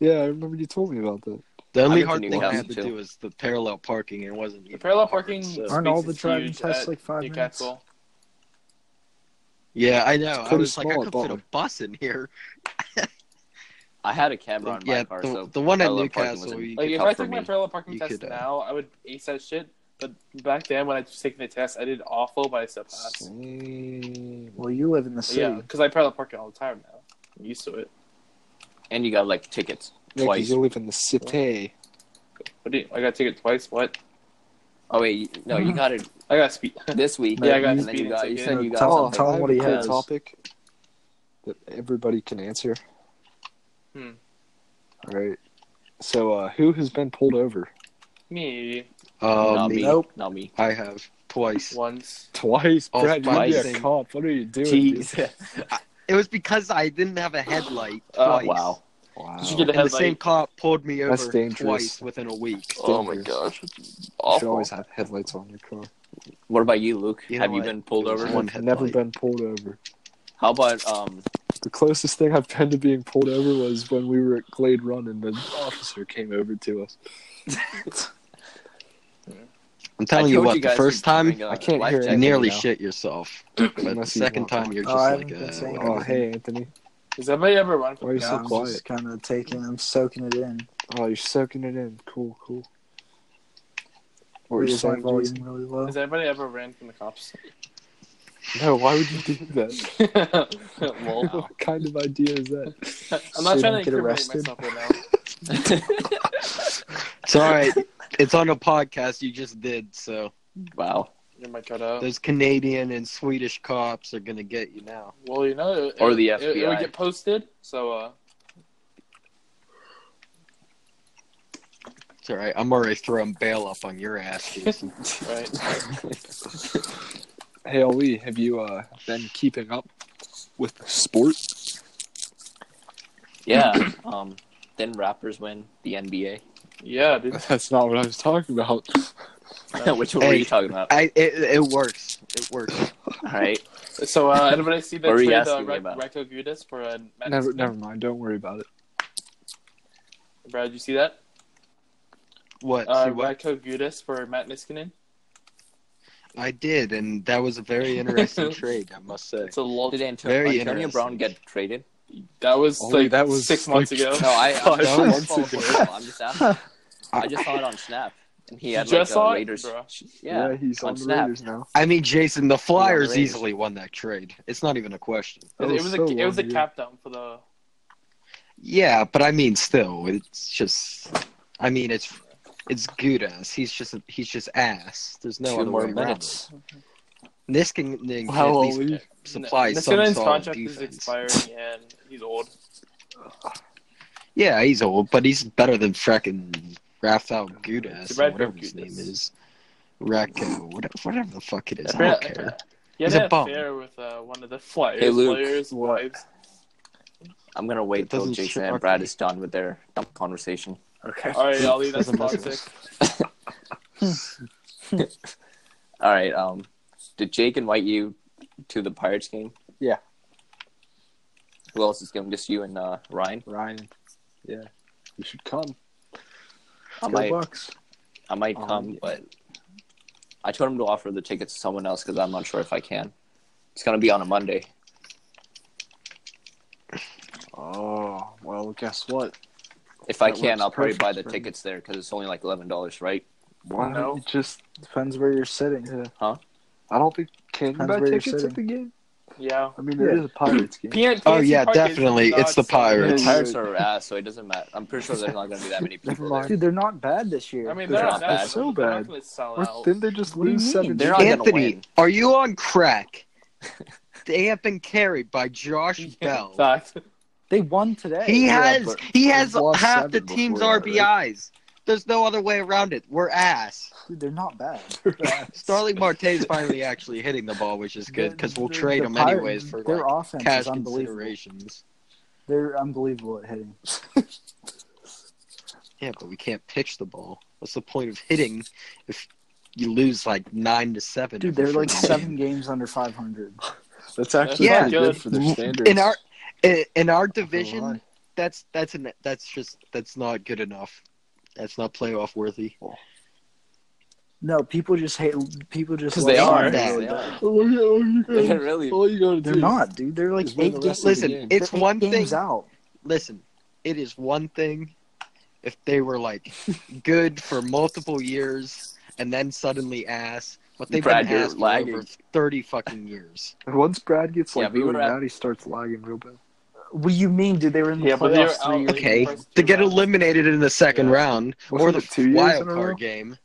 Speaker 2: Yeah, I remember you told me about that.
Speaker 6: The only
Speaker 1: I went
Speaker 6: hard
Speaker 1: to
Speaker 6: thing I had
Speaker 1: Newcastle,
Speaker 6: to
Speaker 1: too.
Speaker 6: do was the parallel parking, and it wasn't.
Speaker 5: The
Speaker 6: even
Speaker 5: parallel
Speaker 6: hard,
Speaker 5: parking
Speaker 6: so-
Speaker 4: Aren't all
Speaker 5: speaks
Speaker 4: the
Speaker 5: is
Speaker 4: driving
Speaker 5: huge
Speaker 4: tests
Speaker 5: at
Speaker 4: like five minutes?
Speaker 5: Newcastle.
Speaker 6: Yeah, I know.
Speaker 2: It's
Speaker 6: I was
Speaker 2: pretty
Speaker 6: like,
Speaker 2: small
Speaker 6: I could
Speaker 2: at
Speaker 6: fit a
Speaker 2: Butler.
Speaker 6: bus in here.
Speaker 1: I had a camera on
Speaker 6: yeah,
Speaker 1: my car,
Speaker 6: the,
Speaker 1: so
Speaker 6: the one at
Speaker 1: parallel parking was
Speaker 6: Newcastle.
Speaker 1: in-
Speaker 6: you
Speaker 5: Like
Speaker 6: could-
Speaker 5: if
Speaker 1: help
Speaker 5: I
Speaker 1: for
Speaker 5: took my
Speaker 1: me.
Speaker 5: parallel parking
Speaker 6: You
Speaker 5: test
Speaker 6: could, uh,
Speaker 5: now, I would ace that shit. But back then, when I was taking the test, I did awful, but I still passed.
Speaker 4: Well, you live in the
Speaker 5: Yeah,
Speaker 4: city.
Speaker 5: because I parallel park it all the time now. I'm used to it.
Speaker 1: and you got like tickets
Speaker 2: Yeah, 'cause
Speaker 1: twice.
Speaker 2: you live in the city.
Speaker 5: What do you, I got to take it twice. What?
Speaker 1: Oh wait, you- no, you got it
Speaker 5: I got speed.
Speaker 1: this week.
Speaker 5: Yeah, I got
Speaker 1: and then you
Speaker 5: speeding
Speaker 1: got. You
Speaker 5: ticket.
Speaker 1: said you got
Speaker 4: Tell-
Speaker 1: something.
Speaker 4: tell
Speaker 2: Oh, I
Speaker 4: him
Speaker 2: have
Speaker 4: what he
Speaker 2: a cool
Speaker 4: has.
Speaker 2: topic that everybody can answer.
Speaker 5: Hmm.
Speaker 2: All right. So, uh, who has been pulled over
Speaker 5: Me
Speaker 6: Um,
Speaker 1: not me.
Speaker 4: Nope.
Speaker 1: Not me.
Speaker 6: I have twice.
Speaker 5: once.
Speaker 2: twice?
Speaker 6: Oh,
Speaker 2: Brad, you'd be a
Speaker 6: twice.
Speaker 2: cop. What are you doing? dude?
Speaker 1: Jeez.
Speaker 6: It was because I didn't have a headlight.
Speaker 5: Oh,
Speaker 6: Twice.
Speaker 1: wow.
Speaker 2: Wow.
Speaker 5: Did you get a
Speaker 6: And the same
Speaker 5: headlight?
Speaker 6: cop pulled me over
Speaker 2: That's dangerous.
Speaker 6: twice within a week.
Speaker 2: Oh my gosh. You should
Speaker 1: Awful.
Speaker 2: always have headlights on your car.
Speaker 1: What about you, Luke?
Speaker 6: You know
Speaker 1: Have you
Speaker 6: what?
Speaker 1: been pulled
Speaker 6: It was
Speaker 1: over?
Speaker 6: one
Speaker 2: I've never
Speaker 6: headlight.
Speaker 2: been pulled over.
Speaker 1: How about um?
Speaker 2: The closest thing I've been to being pulled over was when we were at Glade Run and the officer came over to us.
Speaker 6: I'm telling
Speaker 1: I
Speaker 6: you
Speaker 1: told
Speaker 6: what,
Speaker 1: you
Speaker 6: the
Speaker 1: guys
Speaker 6: first
Speaker 1: we're
Speaker 6: time
Speaker 1: doing a
Speaker 2: I can't
Speaker 1: life
Speaker 2: hear
Speaker 1: check.
Speaker 6: you
Speaker 2: Anthony
Speaker 6: nearly
Speaker 2: now.
Speaker 6: shit yourself, but the
Speaker 2: Unless he's
Speaker 6: second
Speaker 2: not
Speaker 6: time
Speaker 2: talking.
Speaker 6: you're
Speaker 4: Oh,
Speaker 6: just
Speaker 4: I
Speaker 6: like,
Speaker 4: haven't been
Speaker 6: uh,
Speaker 4: saying
Speaker 6: whatever.
Speaker 2: Oh, hey, Anthony.
Speaker 5: Has anybody ever run?
Speaker 2: Why are you
Speaker 4: Yeah,
Speaker 2: so
Speaker 4: I'm
Speaker 2: quiet?
Speaker 4: just kind of taking, I'm soaking it in.
Speaker 2: Oh, you're soaking it in. Cool, cool. What were you
Speaker 4: Raise my
Speaker 2: saying,
Speaker 4: volume
Speaker 2: Jason?
Speaker 4: really low.
Speaker 5: Has anybody ever ran from the cops?
Speaker 2: No, why would you do that?
Speaker 5: Lol.
Speaker 2: what kind of idea is that?
Speaker 5: I'm
Speaker 4: So
Speaker 5: not
Speaker 4: you
Speaker 5: trying
Speaker 4: don't
Speaker 5: to
Speaker 4: get
Speaker 5: incriminate
Speaker 4: arrested?
Speaker 5: myself right now.
Speaker 6: It's all right. it's on a podcast you just did, so
Speaker 1: wow.
Speaker 5: You're my cut
Speaker 1: Oh.
Speaker 5: out.
Speaker 6: those Canadian and Swedish cops are gonna get you now.
Speaker 5: Well, you know, it,
Speaker 1: Or the
Speaker 5: it- It, it would
Speaker 1: FBI.
Speaker 5: get posted. So, uh,
Speaker 6: It's all right. I'm already throwing bail up on your ass, Jason.
Speaker 5: right.
Speaker 2: Hey, Ali, have you uh, been keeping up with the sport?
Speaker 1: Yeah. um. Then rappers win the NBA.
Speaker 5: Yeah, dude.
Speaker 2: That's not what I was talking about.
Speaker 1: Which one were
Speaker 6: Hey.
Speaker 1: you talking about?
Speaker 6: I it, it works. It works.
Speaker 1: All right.
Speaker 5: So, uh, anybody see that
Speaker 1: What were you
Speaker 5: trade uh,
Speaker 1: asking me
Speaker 5: Ra-
Speaker 1: about?
Speaker 5: Racco Gudas for uh, Matt
Speaker 2: Never,
Speaker 5: Smith?
Speaker 2: never mind. Don't worry about it.
Speaker 5: Brad, you see that?
Speaker 6: What?
Speaker 5: Uh,
Speaker 6: See what?
Speaker 5: Radko Gudas for Matt Niskanen.
Speaker 6: I did, and that was a very interesting trade, I must say.
Speaker 5: It's a lot.
Speaker 1: Did Anto-
Speaker 6: Very
Speaker 1: Antonio
Speaker 6: interesting.
Speaker 1: Brown get traded?
Speaker 5: That was
Speaker 2: Only
Speaker 5: like
Speaker 2: Oh, that was,
Speaker 5: six months
Speaker 2: like,
Speaker 5: ago.
Speaker 1: No, I. I,
Speaker 2: That
Speaker 1: I
Speaker 2: was
Speaker 1: just
Speaker 2: months ago.
Speaker 1: I'm just asking. I just saw it on Snap, and he
Speaker 5: You
Speaker 1: had
Speaker 5: just
Speaker 1: like
Speaker 5: saw
Speaker 1: a
Speaker 5: it,
Speaker 1: Raiders.
Speaker 5: bro.
Speaker 1: Yeah.
Speaker 2: he's
Speaker 1: on
Speaker 2: on, the
Speaker 1: Snap.
Speaker 2: Raiders now.
Speaker 6: I mean, Jason, the Flyers
Speaker 1: Raiders.
Speaker 6: easily won that trade. It's not even a question.
Speaker 5: It,
Speaker 2: That
Speaker 5: it
Speaker 2: was
Speaker 5: was
Speaker 2: so
Speaker 5: a it was a
Speaker 2: long ago.
Speaker 5: cap down for the.
Speaker 6: Yeah, but I mean, still, it's just. I mean, it's it's Gudas. He's just he's just ass. There's no
Speaker 1: Two
Speaker 6: other
Speaker 1: more
Speaker 6: way
Speaker 1: minutes.
Speaker 6: around. it. Niskanen can
Speaker 2: Wow,
Speaker 6: at least
Speaker 2: Oli.
Speaker 6: supply some
Speaker 5: Niskanen's
Speaker 6: solid
Speaker 5: contract
Speaker 6: defense.
Speaker 5: is expiring and he's old.
Speaker 6: Yeah, he's old, but he's better than fracking Rafael Gudas,
Speaker 5: Rafael
Speaker 6: or whatever his
Speaker 5: Gudas.
Speaker 6: name is. Racco, whatever, whatever the fuck it is. I
Speaker 5: Brad-
Speaker 6: don't care.
Speaker 5: Yeah,
Speaker 6: He's
Speaker 5: they
Speaker 6: a
Speaker 5: had
Speaker 6: bum.
Speaker 5: affair with uh, one of the Flyers
Speaker 1: Hey, Luke.
Speaker 5: players' wives.
Speaker 1: I'm gonna wait
Speaker 6: It
Speaker 1: till
Speaker 6: doesn't
Speaker 1: Jason
Speaker 6: shock
Speaker 1: and Brad
Speaker 6: me.
Speaker 1: is done with their dumb conversation.
Speaker 4: Okay.
Speaker 5: All right, Ollie, that's
Speaker 6: Doesn't matter.
Speaker 5: toxic.
Speaker 1: All right. Um, did Jake invite you to the Pirates game?
Speaker 2: Yeah.
Speaker 1: Who else is going? Just you and uh, Ryan.
Speaker 2: Ryan. Yeah. You should come.
Speaker 1: I
Speaker 4: Go
Speaker 1: might,
Speaker 4: Bucks.
Speaker 1: I might
Speaker 2: Oh,
Speaker 1: come,
Speaker 2: yeah.
Speaker 1: but I told him to offer the tickets to someone else because I'm not sure if I can. It's gonna be on a Monday.
Speaker 2: Oh, well, guess what?
Speaker 1: If I
Speaker 2: That
Speaker 1: can,
Speaker 2: works
Speaker 1: I'll probably buy the
Speaker 2: perfect for me.
Speaker 1: tickets there because it's only like eleven dollars, right?
Speaker 2: Why
Speaker 5: No.
Speaker 2: don't you just.
Speaker 4: Depends where you're sitting.
Speaker 2: Yeah.
Speaker 1: Huh?
Speaker 2: I don't think. Can you
Speaker 4: Depends
Speaker 2: buy
Speaker 4: where you're
Speaker 2: tickets at
Speaker 4: sitting.
Speaker 2: the game?
Speaker 5: Yeah.
Speaker 2: I mean, it is a Pirates game.
Speaker 5: P-
Speaker 6: Oh, yeah, definitely. It's the Pirates.
Speaker 2: Yeah,
Speaker 1: Pirates are ass, so it doesn't matter. I'm pretty sure there's not gonna be that many people there.
Speaker 4: Dude, they're not bad this year.
Speaker 5: I mean,
Speaker 1: They're
Speaker 5: they're
Speaker 1: not
Speaker 5: not
Speaker 1: bad.
Speaker 5: bad.
Speaker 2: So
Speaker 5: They're not
Speaker 2: bad.
Speaker 5: gonna sell
Speaker 2: Or
Speaker 5: out.
Speaker 2: Didn't they just
Speaker 4: What do you
Speaker 2: lose
Speaker 4: mean?
Speaker 2: seven?
Speaker 1: They're not gonna
Speaker 6: Anthony,
Speaker 1: win.
Speaker 6: are you on crack? They have been carried by Josh Bell.
Speaker 5: Fact.
Speaker 4: They won today.
Speaker 6: He
Speaker 2: Yeah,
Speaker 6: has
Speaker 2: but
Speaker 6: he has
Speaker 2: we've lost
Speaker 6: half the
Speaker 2: seven
Speaker 6: team's
Speaker 2: before that,
Speaker 6: RBIs. There's no other way around it. We're ass.
Speaker 4: Dude, they're not bad.
Speaker 6: Starling Marte is finally actually hitting the ball, which is good because we'll
Speaker 4: The-
Speaker 6: trade
Speaker 4: the
Speaker 6: him
Speaker 4: Pir-
Speaker 6: anyways for
Speaker 4: their
Speaker 6: like,
Speaker 4: offense
Speaker 6: cash
Speaker 4: is unbelievable.
Speaker 6: considerations.
Speaker 4: They're unbelievable at hitting.
Speaker 6: Yeah, but we can't pitch the ball. What's the point of hitting if you lose like nine to seven?
Speaker 4: Dude,
Speaker 6: every
Speaker 4: they're like
Speaker 6: freaking game?
Speaker 4: seven games under 500.
Speaker 7: That's actually
Speaker 6: Yeah.
Speaker 7: pretty good.
Speaker 5: Good.
Speaker 7: for their standards.
Speaker 6: in our in, in our
Speaker 7: Not
Speaker 6: division.
Speaker 7: gonna
Speaker 6: That's that's an that's just that's not good enough. That's not playoff worthy.
Speaker 4: No, people just hate. People just
Speaker 1: 'Cause
Speaker 4: love
Speaker 1: they are.
Speaker 4: Sunday.
Speaker 6: Sunday.
Speaker 1: They are.
Speaker 2: Oh,
Speaker 7: lie. Look at all you guys-
Speaker 1: They're really.
Speaker 7: all you gotta
Speaker 4: They're
Speaker 7: do.
Speaker 4: not, dude. They're like
Speaker 7: Just win
Speaker 4: eight,
Speaker 7: the
Speaker 4: ga-
Speaker 7: rest of the
Speaker 6: Listen,
Speaker 7: game.
Speaker 6: it's
Speaker 4: they're eight
Speaker 6: one thing.
Speaker 4: games out.
Speaker 6: listen, it is one thing if they were like good for multiple years and then suddenly ass, but they've
Speaker 1: Brad,
Speaker 6: been
Speaker 1: you're
Speaker 6: ass for
Speaker 1: lagging.
Speaker 6: over thirty fucking years.
Speaker 2: And once Brad gets
Speaker 1: Yeah,
Speaker 2: like
Speaker 1: we were
Speaker 2: really
Speaker 1: at-
Speaker 2: mad, he starts lagging real bad.
Speaker 4: What do you mean, dude? They were in the
Speaker 5: Yeah, but they're
Speaker 4: playoffs three
Speaker 5: out-
Speaker 4: years
Speaker 5: Okay,
Speaker 6: Okay,
Speaker 4: ago.
Speaker 5: first
Speaker 6: to
Speaker 5: two
Speaker 6: get
Speaker 5: rounds.
Speaker 6: eliminated in the second
Speaker 5: Yeah.
Speaker 6: round
Speaker 2: Wasn't
Speaker 6: or the
Speaker 2: it two years
Speaker 6: wild
Speaker 2: in a row?
Speaker 6: card game.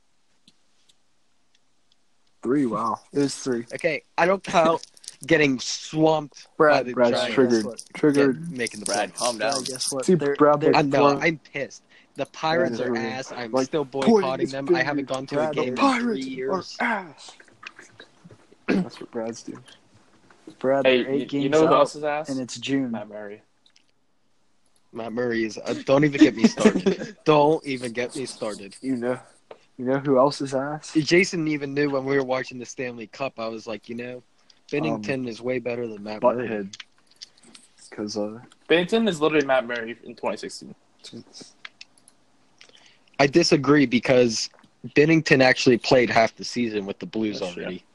Speaker 2: Three, wow.
Speaker 4: It was three.
Speaker 6: Okay, I don't count getting swamped by
Speaker 4: Brad,
Speaker 6: the
Speaker 2: Brad's
Speaker 6: Giants
Speaker 2: triggered.
Speaker 4: Guess what?
Speaker 2: Triggered.
Speaker 6: get- making the
Speaker 1: Brad,
Speaker 6: playoffs.
Speaker 1: calm down.
Speaker 4: Brad, guess what?
Speaker 2: See,
Speaker 4: They're-
Speaker 2: Brad
Speaker 4: they're-
Speaker 6: I
Speaker 2: Like,
Speaker 6: know.
Speaker 2: Brad-
Speaker 6: I'm pissed. The Pirates
Speaker 2: Brad
Speaker 6: are
Speaker 2: is really-
Speaker 6: ass. I'm
Speaker 2: like,
Speaker 6: still
Speaker 2: pointing
Speaker 6: boycotting
Speaker 2: his
Speaker 6: them. I
Speaker 2: finger
Speaker 6: haven't gone to a
Speaker 4: Brad,
Speaker 6: game in three
Speaker 2: Pirates are
Speaker 6: years.
Speaker 2: ass. That's what Brad's doing.
Speaker 4: Brad,
Speaker 5: Hey,
Speaker 4: they're eight
Speaker 5: you,
Speaker 4: games
Speaker 5: you know who
Speaker 4: out,
Speaker 5: else is ass?
Speaker 4: and it's June.
Speaker 5: Matt Murray.
Speaker 6: Matt Murray is. Uh, don't even get me started. don't even get me started.
Speaker 2: You know, you know who else is ass?
Speaker 6: Jason even knew when we were watching the Stanley Cup. I was like, you know,
Speaker 1: Um,
Speaker 6: Bennington is way better than Matt Murray.
Speaker 2: Butthead. Because uh,
Speaker 5: Bennington is literally Matt Murray in 2016.
Speaker 6: I disagree because Bennington actually played half the season with the Blues
Speaker 5: That's
Speaker 6: already.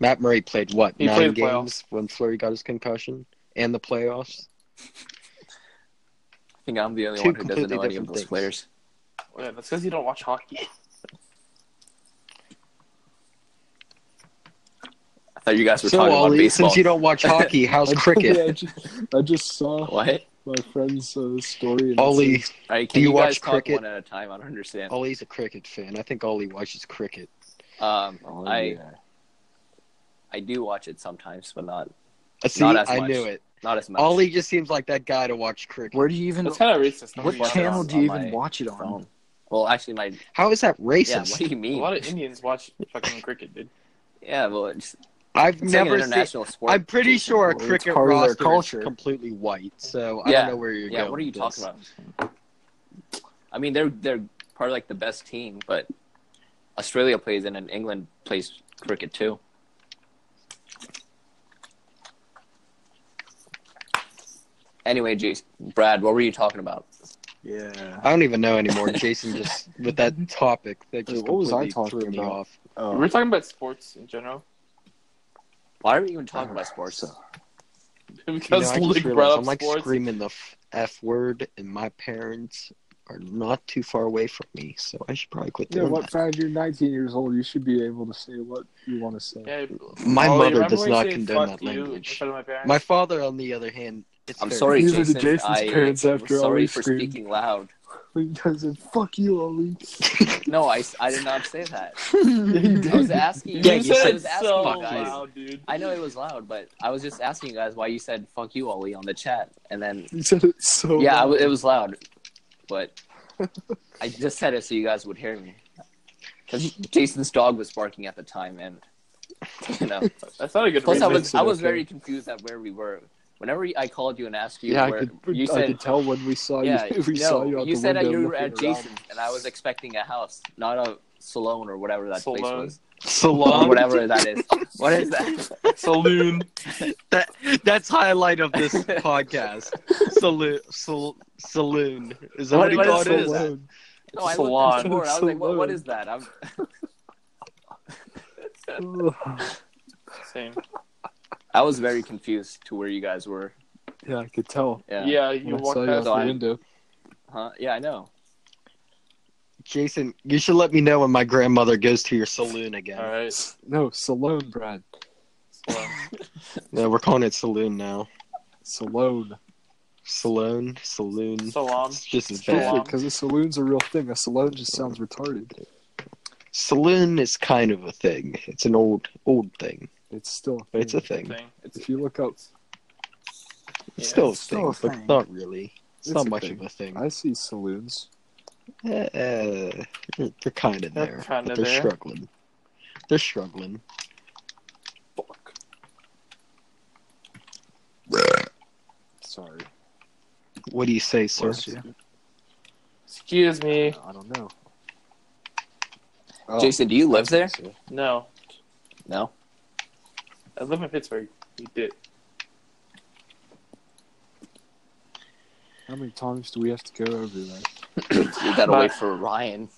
Speaker 6: Matt Murray played what
Speaker 5: He
Speaker 6: nine
Speaker 5: played the
Speaker 6: games when Flurry got his concussion and the playoffs.
Speaker 1: I think I'm the only
Speaker 6: Two
Speaker 1: one who doesn't know
Speaker 6: completely
Speaker 1: any of
Speaker 6: different
Speaker 1: those
Speaker 6: things.
Speaker 1: players.
Speaker 5: Oh, Yeah, that's because you don't watch hockey.
Speaker 1: I thought you guys were
Speaker 6: So
Speaker 1: talking about
Speaker 6: Ollie,
Speaker 1: baseball.
Speaker 6: since you don't watch hockey, how's
Speaker 2: I-
Speaker 6: cricket?
Speaker 2: I just, I just saw
Speaker 1: What?
Speaker 2: my friend's uh, story. And
Speaker 6: Ollie,
Speaker 1: All right, can
Speaker 6: Do you
Speaker 1: you,
Speaker 6: watch
Speaker 1: guys
Speaker 6: cricket?
Speaker 1: talk one at a time? I don't understand.
Speaker 6: Ollie's a cricket fan. I think Ollie watches cricket.
Speaker 1: Um,
Speaker 2: Oh,
Speaker 1: I
Speaker 2: yeah.
Speaker 1: I do watch it sometimes, but not
Speaker 6: Uh, See,
Speaker 1: Not as
Speaker 6: I
Speaker 1: much.
Speaker 6: knew it.
Speaker 1: not as much.
Speaker 6: Ollie just seems like that guy to watch cricket.
Speaker 4: Where do you even?
Speaker 5: That's kind of racist.
Speaker 4: What
Speaker 1: watch it
Speaker 4: channel
Speaker 1: on-
Speaker 4: do you
Speaker 1: on
Speaker 4: even
Speaker 1: my
Speaker 4: watch it on?
Speaker 1: phone. Well, actually, my
Speaker 6: How is that
Speaker 1: yeah.
Speaker 6: racist?
Speaker 1: What do you
Speaker 5: A
Speaker 1: mean?
Speaker 5: lot of Indians watch fucking cricket, dude.
Speaker 1: Yeah, well, it's,
Speaker 6: I've
Speaker 1: it's like
Speaker 6: never
Speaker 1: an
Speaker 6: seen.
Speaker 1: international sport.
Speaker 6: I'm pretty
Speaker 1: Jason.
Speaker 6: sure a
Speaker 4: It's
Speaker 6: cricket
Speaker 4: part of their
Speaker 6: roster
Speaker 4: culture.
Speaker 6: is completely white, so I
Speaker 1: Yeah.
Speaker 6: don't know where you're
Speaker 1: Yeah,
Speaker 6: going.
Speaker 1: what are you
Speaker 6: with
Speaker 1: talking
Speaker 6: this.
Speaker 1: about? I mean, they're they're part of like the best team, but Australia plays in and England plays cricket too. Anyway, Jason, Brad, what were you talking about?
Speaker 4: Yeah.
Speaker 6: I don't even know anymore. Jason just with that topic that just
Speaker 2: Dude, what was I
Speaker 6: completely
Speaker 2: talking
Speaker 6: threw me
Speaker 2: about?
Speaker 6: off.
Speaker 2: Oh,
Speaker 5: We're talking about sports in general.
Speaker 1: Why are we even talking about sports?
Speaker 6: You know,
Speaker 5: Because
Speaker 6: I just
Speaker 5: Luke brought
Speaker 6: realized
Speaker 5: up
Speaker 6: I'm like
Speaker 5: sports.
Speaker 6: screaming the f-, f word, and my parents are not too far away from me, so I should probably quit
Speaker 2: you know
Speaker 6: doing
Speaker 2: what,
Speaker 6: that.
Speaker 2: Brad? You're 19 years old. You should be able to say what you want to say.
Speaker 5: Yeah,
Speaker 6: My
Speaker 5: Ollie,
Speaker 6: mother
Speaker 5: remember
Speaker 6: does
Speaker 5: when you
Speaker 6: not
Speaker 5: said
Speaker 6: condone
Speaker 5: fuck
Speaker 6: that
Speaker 5: you in
Speaker 6: language.
Speaker 5: front of my parents?
Speaker 6: My father, on the other hand, it's
Speaker 1: I'm
Speaker 6: very-
Speaker 1: sorry,
Speaker 2: These are the
Speaker 1: Jason.
Speaker 2: Jason's
Speaker 1: I,
Speaker 2: parents
Speaker 1: am
Speaker 2: after all
Speaker 1: sorry
Speaker 2: we
Speaker 1: for
Speaker 2: screamed.
Speaker 1: speaking loud.
Speaker 2: He doesn't. Fuck you, Ollie.
Speaker 1: No, I, I did not say that.
Speaker 2: yeah, you
Speaker 1: I was
Speaker 2: did.
Speaker 1: asking.
Speaker 6: Yeah,
Speaker 1: I
Speaker 6: you
Speaker 1: was
Speaker 6: said
Speaker 5: it's
Speaker 1: asking
Speaker 5: so
Speaker 1: you guys.
Speaker 5: loud, dude.
Speaker 1: I know it was loud, but I was just asking you guys why you said "fuck you, Ollie" on the chat, and then
Speaker 2: You said it so.
Speaker 1: yeah, I
Speaker 2: loud.
Speaker 1: w it was loud, but I just said it so you guys would hear me because Jason's dog was barking at the time, and you know.
Speaker 5: That's not a good
Speaker 1: Plus, I
Speaker 5: reason.
Speaker 1: was I was
Speaker 2: Okay.
Speaker 1: very confused at where we were. Whenever I called you and asked you
Speaker 2: Yeah, I
Speaker 1: where
Speaker 2: could.
Speaker 1: you
Speaker 2: I
Speaker 1: said
Speaker 2: could tell when we saw
Speaker 1: yeah,
Speaker 2: you. We
Speaker 1: no,
Speaker 2: saw you. Out the
Speaker 1: said that
Speaker 2: window
Speaker 1: you were
Speaker 2: looking
Speaker 1: at
Speaker 2: around.
Speaker 1: Jason's, and I was expecting a house, not a salon or whatever that place
Speaker 5: Salon.
Speaker 1: was, or
Speaker 6: Salon.
Speaker 1: whatever that is. What is that?
Speaker 5: Saloon.
Speaker 6: That that's highlight of this podcast. Saloon, sal, saloon. Is that
Speaker 1: What-
Speaker 6: what,
Speaker 1: what is
Speaker 6: he thought it is?
Speaker 1: saloon? No, I looked at
Speaker 5: Salon.
Speaker 1: the board. I was like, what, what
Speaker 2: Salon.
Speaker 1: is that? I'm,
Speaker 5: Same.
Speaker 1: I was very confused to where you guys were.
Speaker 2: Yeah, I could tell.
Speaker 1: Yeah.
Speaker 5: Yeah, you
Speaker 2: when I
Speaker 5: walked
Speaker 2: saw you out
Speaker 5: past.
Speaker 1: So
Speaker 2: the
Speaker 1: I-
Speaker 2: window.
Speaker 1: Huh? Yeah, I know.
Speaker 6: Jason, you should let me know when my grandmother goes to your saloon again.
Speaker 5: All right.
Speaker 2: No, Salone, Brad.
Speaker 6: No, we're calling it saloon now.
Speaker 2: Salone.
Speaker 6: Saloon, saloon.
Speaker 5: Salam.
Speaker 6: It's just as bad.
Speaker 5: Salon.
Speaker 2: Because a saloon's a real thing. A salon just sounds retarded.
Speaker 6: Saloon is kind of a thing. It's an old, old thing.
Speaker 2: It's still a thing.
Speaker 6: It's a thing.
Speaker 5: thing. It's,
Speaker 2: if you look up,
Speaker 6: It's
Speaker 5: yeah,
Speaker 6: still a
Speaker 4: it's still a
Speaker 6: thing, but
Speaker 4: thing.
Speaker 6: not really. It's,
Speaker 2: It's
Speaker 6: not
Speaker 2: a
Speaker 6: much
Speaker 2: thing.
Speaker 6: of a thing.
Speaker 2: I see saloons.
Speaker 6: Eh, eh, they're kind of
Speaker 5: They're
Speaker 6: there.
Speaker 5: kinda
Speaker 6: but they're
Speaker 5: there.
Speaker 6: struggling. They're struggling.
Speaker 5: fuck.
Speaker 2: Sorry,
Speaker 6: What do you say, sir?
Speaker 2: Bless you.
Speaker 5: Excuse me.
Speaker 2: I don't know. Oh.
Speaker 1: Jason, do you live there?
Speaker 5: No,
Speaker 1: No.
Speaker 5: I live in Pittsburgh. You did.
Speaker 2: How many times do we have to go over there?
Speaker 1: We gotta
Speaker 5: But-
Speaker 1: wait for Ryan.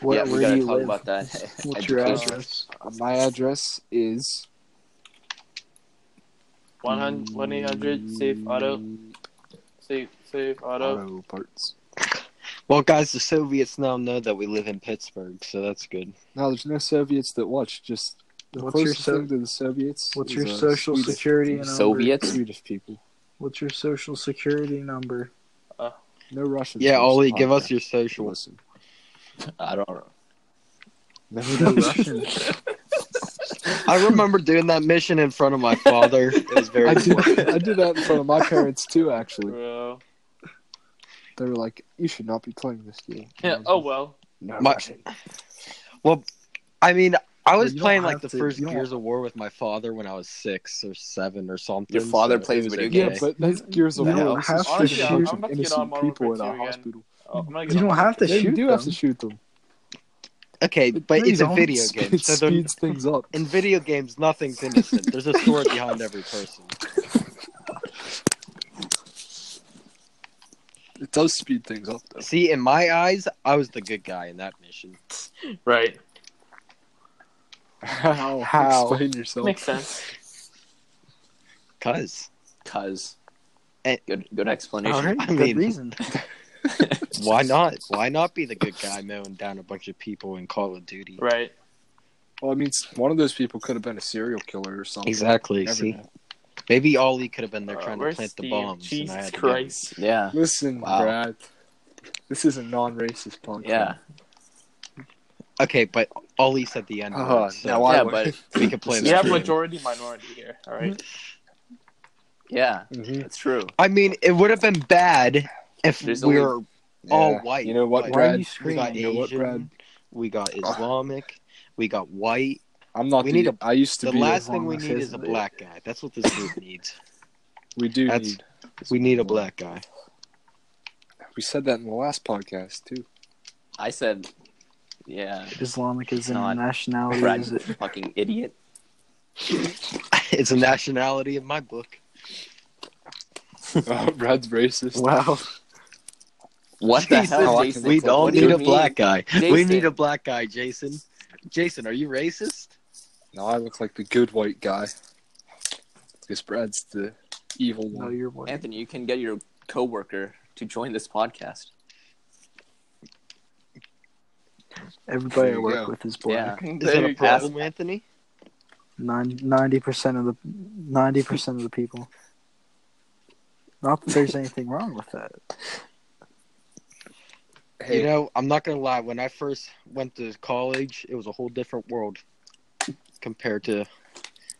Speaker 2: Where-
Speaker 1: yeah,
Speaker 2: where
Speaker 1: we gotta
Speaker 2: do you
Speaker 1: talk
Speaker 2: live?
Speaker 1: about that.
Speaker 2: What's your
Speaker 1: Education.
Speaker 2: address? Uh, my address is
Speaker 5: One hundred, one eight hundred, safe auto, safe, safe auto.
Speaker 2: Mm, Auto parts.
Speaker 6: Well, guys, the Soviets now know that we live in Pittsburgh, so that's good.
Speaker 2: No, there's no Soviets that watch. Just the
Speaker 4: What's your
Speaker 2: closest
Speaker 4: so-
Speaker 2: thing to the Soviets.
Speaker 4: What's
Speaker 2: is,
Speaker 4: your
Speaker 2: uh,
Speaker 4: social
Speaker 2: Swedish-
Speaker 4: security number?
Speaker 1: Soviets.
Speaker 2: Swedish people.
Speaker 4: What's your social security number?
Speaker 2: No Russians.
Speaker 6: Yeah,
Speaker 2: on this
Speaker 6: Ollie, give us
Speaker 2: podcast.
Speaker 6: your social.
Speaker 2: Listen.
Speaker 1: I don't know.
Speaker 2: No,
Speaker 4: No
Speaker 2: no
Speaker 4: Russian.
Speaker 6: I remember doing that mission in front of my father. It was very
Speaker 2: I did,
Speaker 6: important.
Speaker 2: I did that in front of my parents too. Actually,
Speaker 5: Bro.
Speaker 2: they were like, "You should not be playing this game."
Speaker 5: Yeah, oh well.
Speaker 2: no,
Speaker 6: My-
Speaker 2: Russian.
Speaker 6: I mean, I was
Speaker 4: You don't
Speaker 6: playing like
Speaker 4: have
Speaker 6: the
Speaker 4: to-
Speaker 6: first
Speaker 4: you don't-
Speaker 6: Gears of War with my father when I was six or seven or something.
Speaker 1: Your father
Speaker 6: so it
Speaker 1: plays
Speaker 6: was
Speaker 1: video
Speaker 6: okay.
Speaker 2: Yeah, but that's Gears of
Speaker 4: You
Speaker 2: War.
Speaker 4: don't
Speaker 2: This
Speaker 4: have
Speaker 2: is
Speaker 4: to
Speaker 2: honestly,
Speaker 4: shoot-
Speaker 2: a bunch
Speaker 5: I'm
Speaker 2: of
Speaker 5: about to get on
Speaker 2: innocent
Speaker 5: Modern
Speaker 2: people in a
Speaker 5: Warfare 2 again.
Speaker 2: hospital.
Speaker 5: Oh, I'm gonna
Speaker 4: You
Speaker 5: get
Speaker 4: don't
Speaker 5: on.
Speaker 4: have to
Speaker 2: Yeah, you
Speaker 4: shoot
Speaker 2: do
Speaker 4: them.
Speaker 2: have to shoot them.
Speaker 6: okay, but
Speaker 4: you
Speaker 6: it's a
Speaker 4: don't.
Speaker 6: video game.
Speaker 2: It
Speaker 6: So they're-
Speaker 2: speeds things up.
Speaker 6: in video games, nothing's innocent. There's a story behind every person.
Speaker 2: It does speed things up, though.
Speaker 6: See, in my eyes, I was the good guy in that mission.
Speaker 5: Right.
Speaker 2: How?
Speaker 6: How?
Speaker 2: Explain yourself.
Speaker 5: Makes sense.
Speaker 6: Cause
Speaker 1: Cause.
Speaker 6: Eh.
Speaker 1: Good, good explanation.
Speaker 4: All right,
Speaker 6: I
Speaker 4: good
Speaker 6: mean-
Speaker 4: reason.
Speaker 6: why not? Why not be the good guy mowing down a bunch of people in Call of Duty?
Speaker 5: Right.
Speaker 2: Well, I mean, s- one of those people could have been a serial killer or something.
Speaker 6: Exactly.
Speaker 2: Never
Speaker 6: see,
Speaker 2: know.
Speaker 6: maybe Ollie could have been there
Speaker 5: Uh,
Speaker 6: trying to
Speaker 5: where's
Speaker 6: plant the
Speaker 5: Steve?
Speaker 6: bombs. and I
Speaker 5: Jesus
Speaker 6: had to-
Speaker 5: Christ.
Speaker 1: Yeah.
Speaker 2: Listen,
Speaker 1: Wow.
Speaker 2: Brad. This is a non-racist podcast.
Speaker 1: Yeah.
Speaker 6: Okay, but Ollie said the end.
Speaker 2: Uh,
Speaker 6: word, so
Speaker 2: now I
Speaker 1: yeah,
Speaker 2: would-
Speaker 1: but
Speaker 6: we could play
Speaker 5: We
Speaker 6: that.
Speaker 5: have
Speaker 6: game.
Speaker 5: majority minority here. All right.
Speaker 1: yeah,
Speaker 6: Mm-hmm.
Speaker 2: Mhm.
Speaker 1: it's true.
Speaker 6: I mean, it would have been bad if
Speaker 1: There's
Speaker 6: we
Speaker 1: only-
Speaker 6: were all
Speaker 2: Yeah.
Speaker 6: white.
Speaker 2: You know what,
Speaker 4: Why
Speaker 6: but
Speaker 4: are
Speaker 2: Brad?
Speaker 4: you
Speaker 6: We got
Speaker 4: screaming?
Speaker 2: You know what,
Speaker 6: Asian.
Speaker 2: Brad?
Speaker 6: we got Islamic. we got white.
Speaker 2: I'm not.
Speaker 6: We
Speaker 2: We
Speaker 6: need a-
Speaker 2: I used to
Speaker 6: The
Speaker 2: be.
Speaker 6: last
Speaker 2: wrong
Speaker 6: thing we
Speaker 2: with
Speaker 6: need is a
Speaker 2: racism.
Speaker 6: black guy. That's what this group needs.
Speaker 2: We do
Speaker 6: That's-
Speaker 2: need.
Speaker 6: We need a black guy.
Speaker 2: We said that in the last podcast too.
Speaker 1: I said, yeah,
Speaker 4: Islamic is in
Speaker 1: Not-
Speaker 4: nationality.
Speaker 1: Brad,
Speaker 4: Is it?
Speaker 1: fucking idiot.
Speaker 6: it's a nationality in my book.
Speaker 2: Oh, Brad's racist.
Speaker 4: Wow.
Speaker 1: What the hell?
Speaker 2: Jesus,
Speaker 1: Jason?
Speaker 6: We all
Speaker 1: What do
Speaker 6: need
Speaker 1: you
Speaker 6: a
Speaker 1: mean?
Speaker 6: black guy. We
Speaker 1: Jason.
Speaker 6: need a black guy, Jason. Jason, are you racist?
Speaker 2: No, I look like the good white guy. Because Brad's the evil
Speaker 4: No,
Speaker 2: one.
Speaker 4: you're white.
Speaker 1: Anthony, you can get your coworker to join this podcast.
Speaker 4: Everybody
Speaker 2: There
Speaker 4: I
Speaker 2: you
Speaker 4: work
Speaker 2: go.
Speaker 4: with is black.
Speaker 6: Is that a problem, Anthony?
Speaker 4: ninety percent of the ninety percent of the people. Not that there's anything wrong with that.
Speaker 2: Hey,
Speaker 6: You know, I'm not gonna lie. When I first went to college, it was a whole different world compared to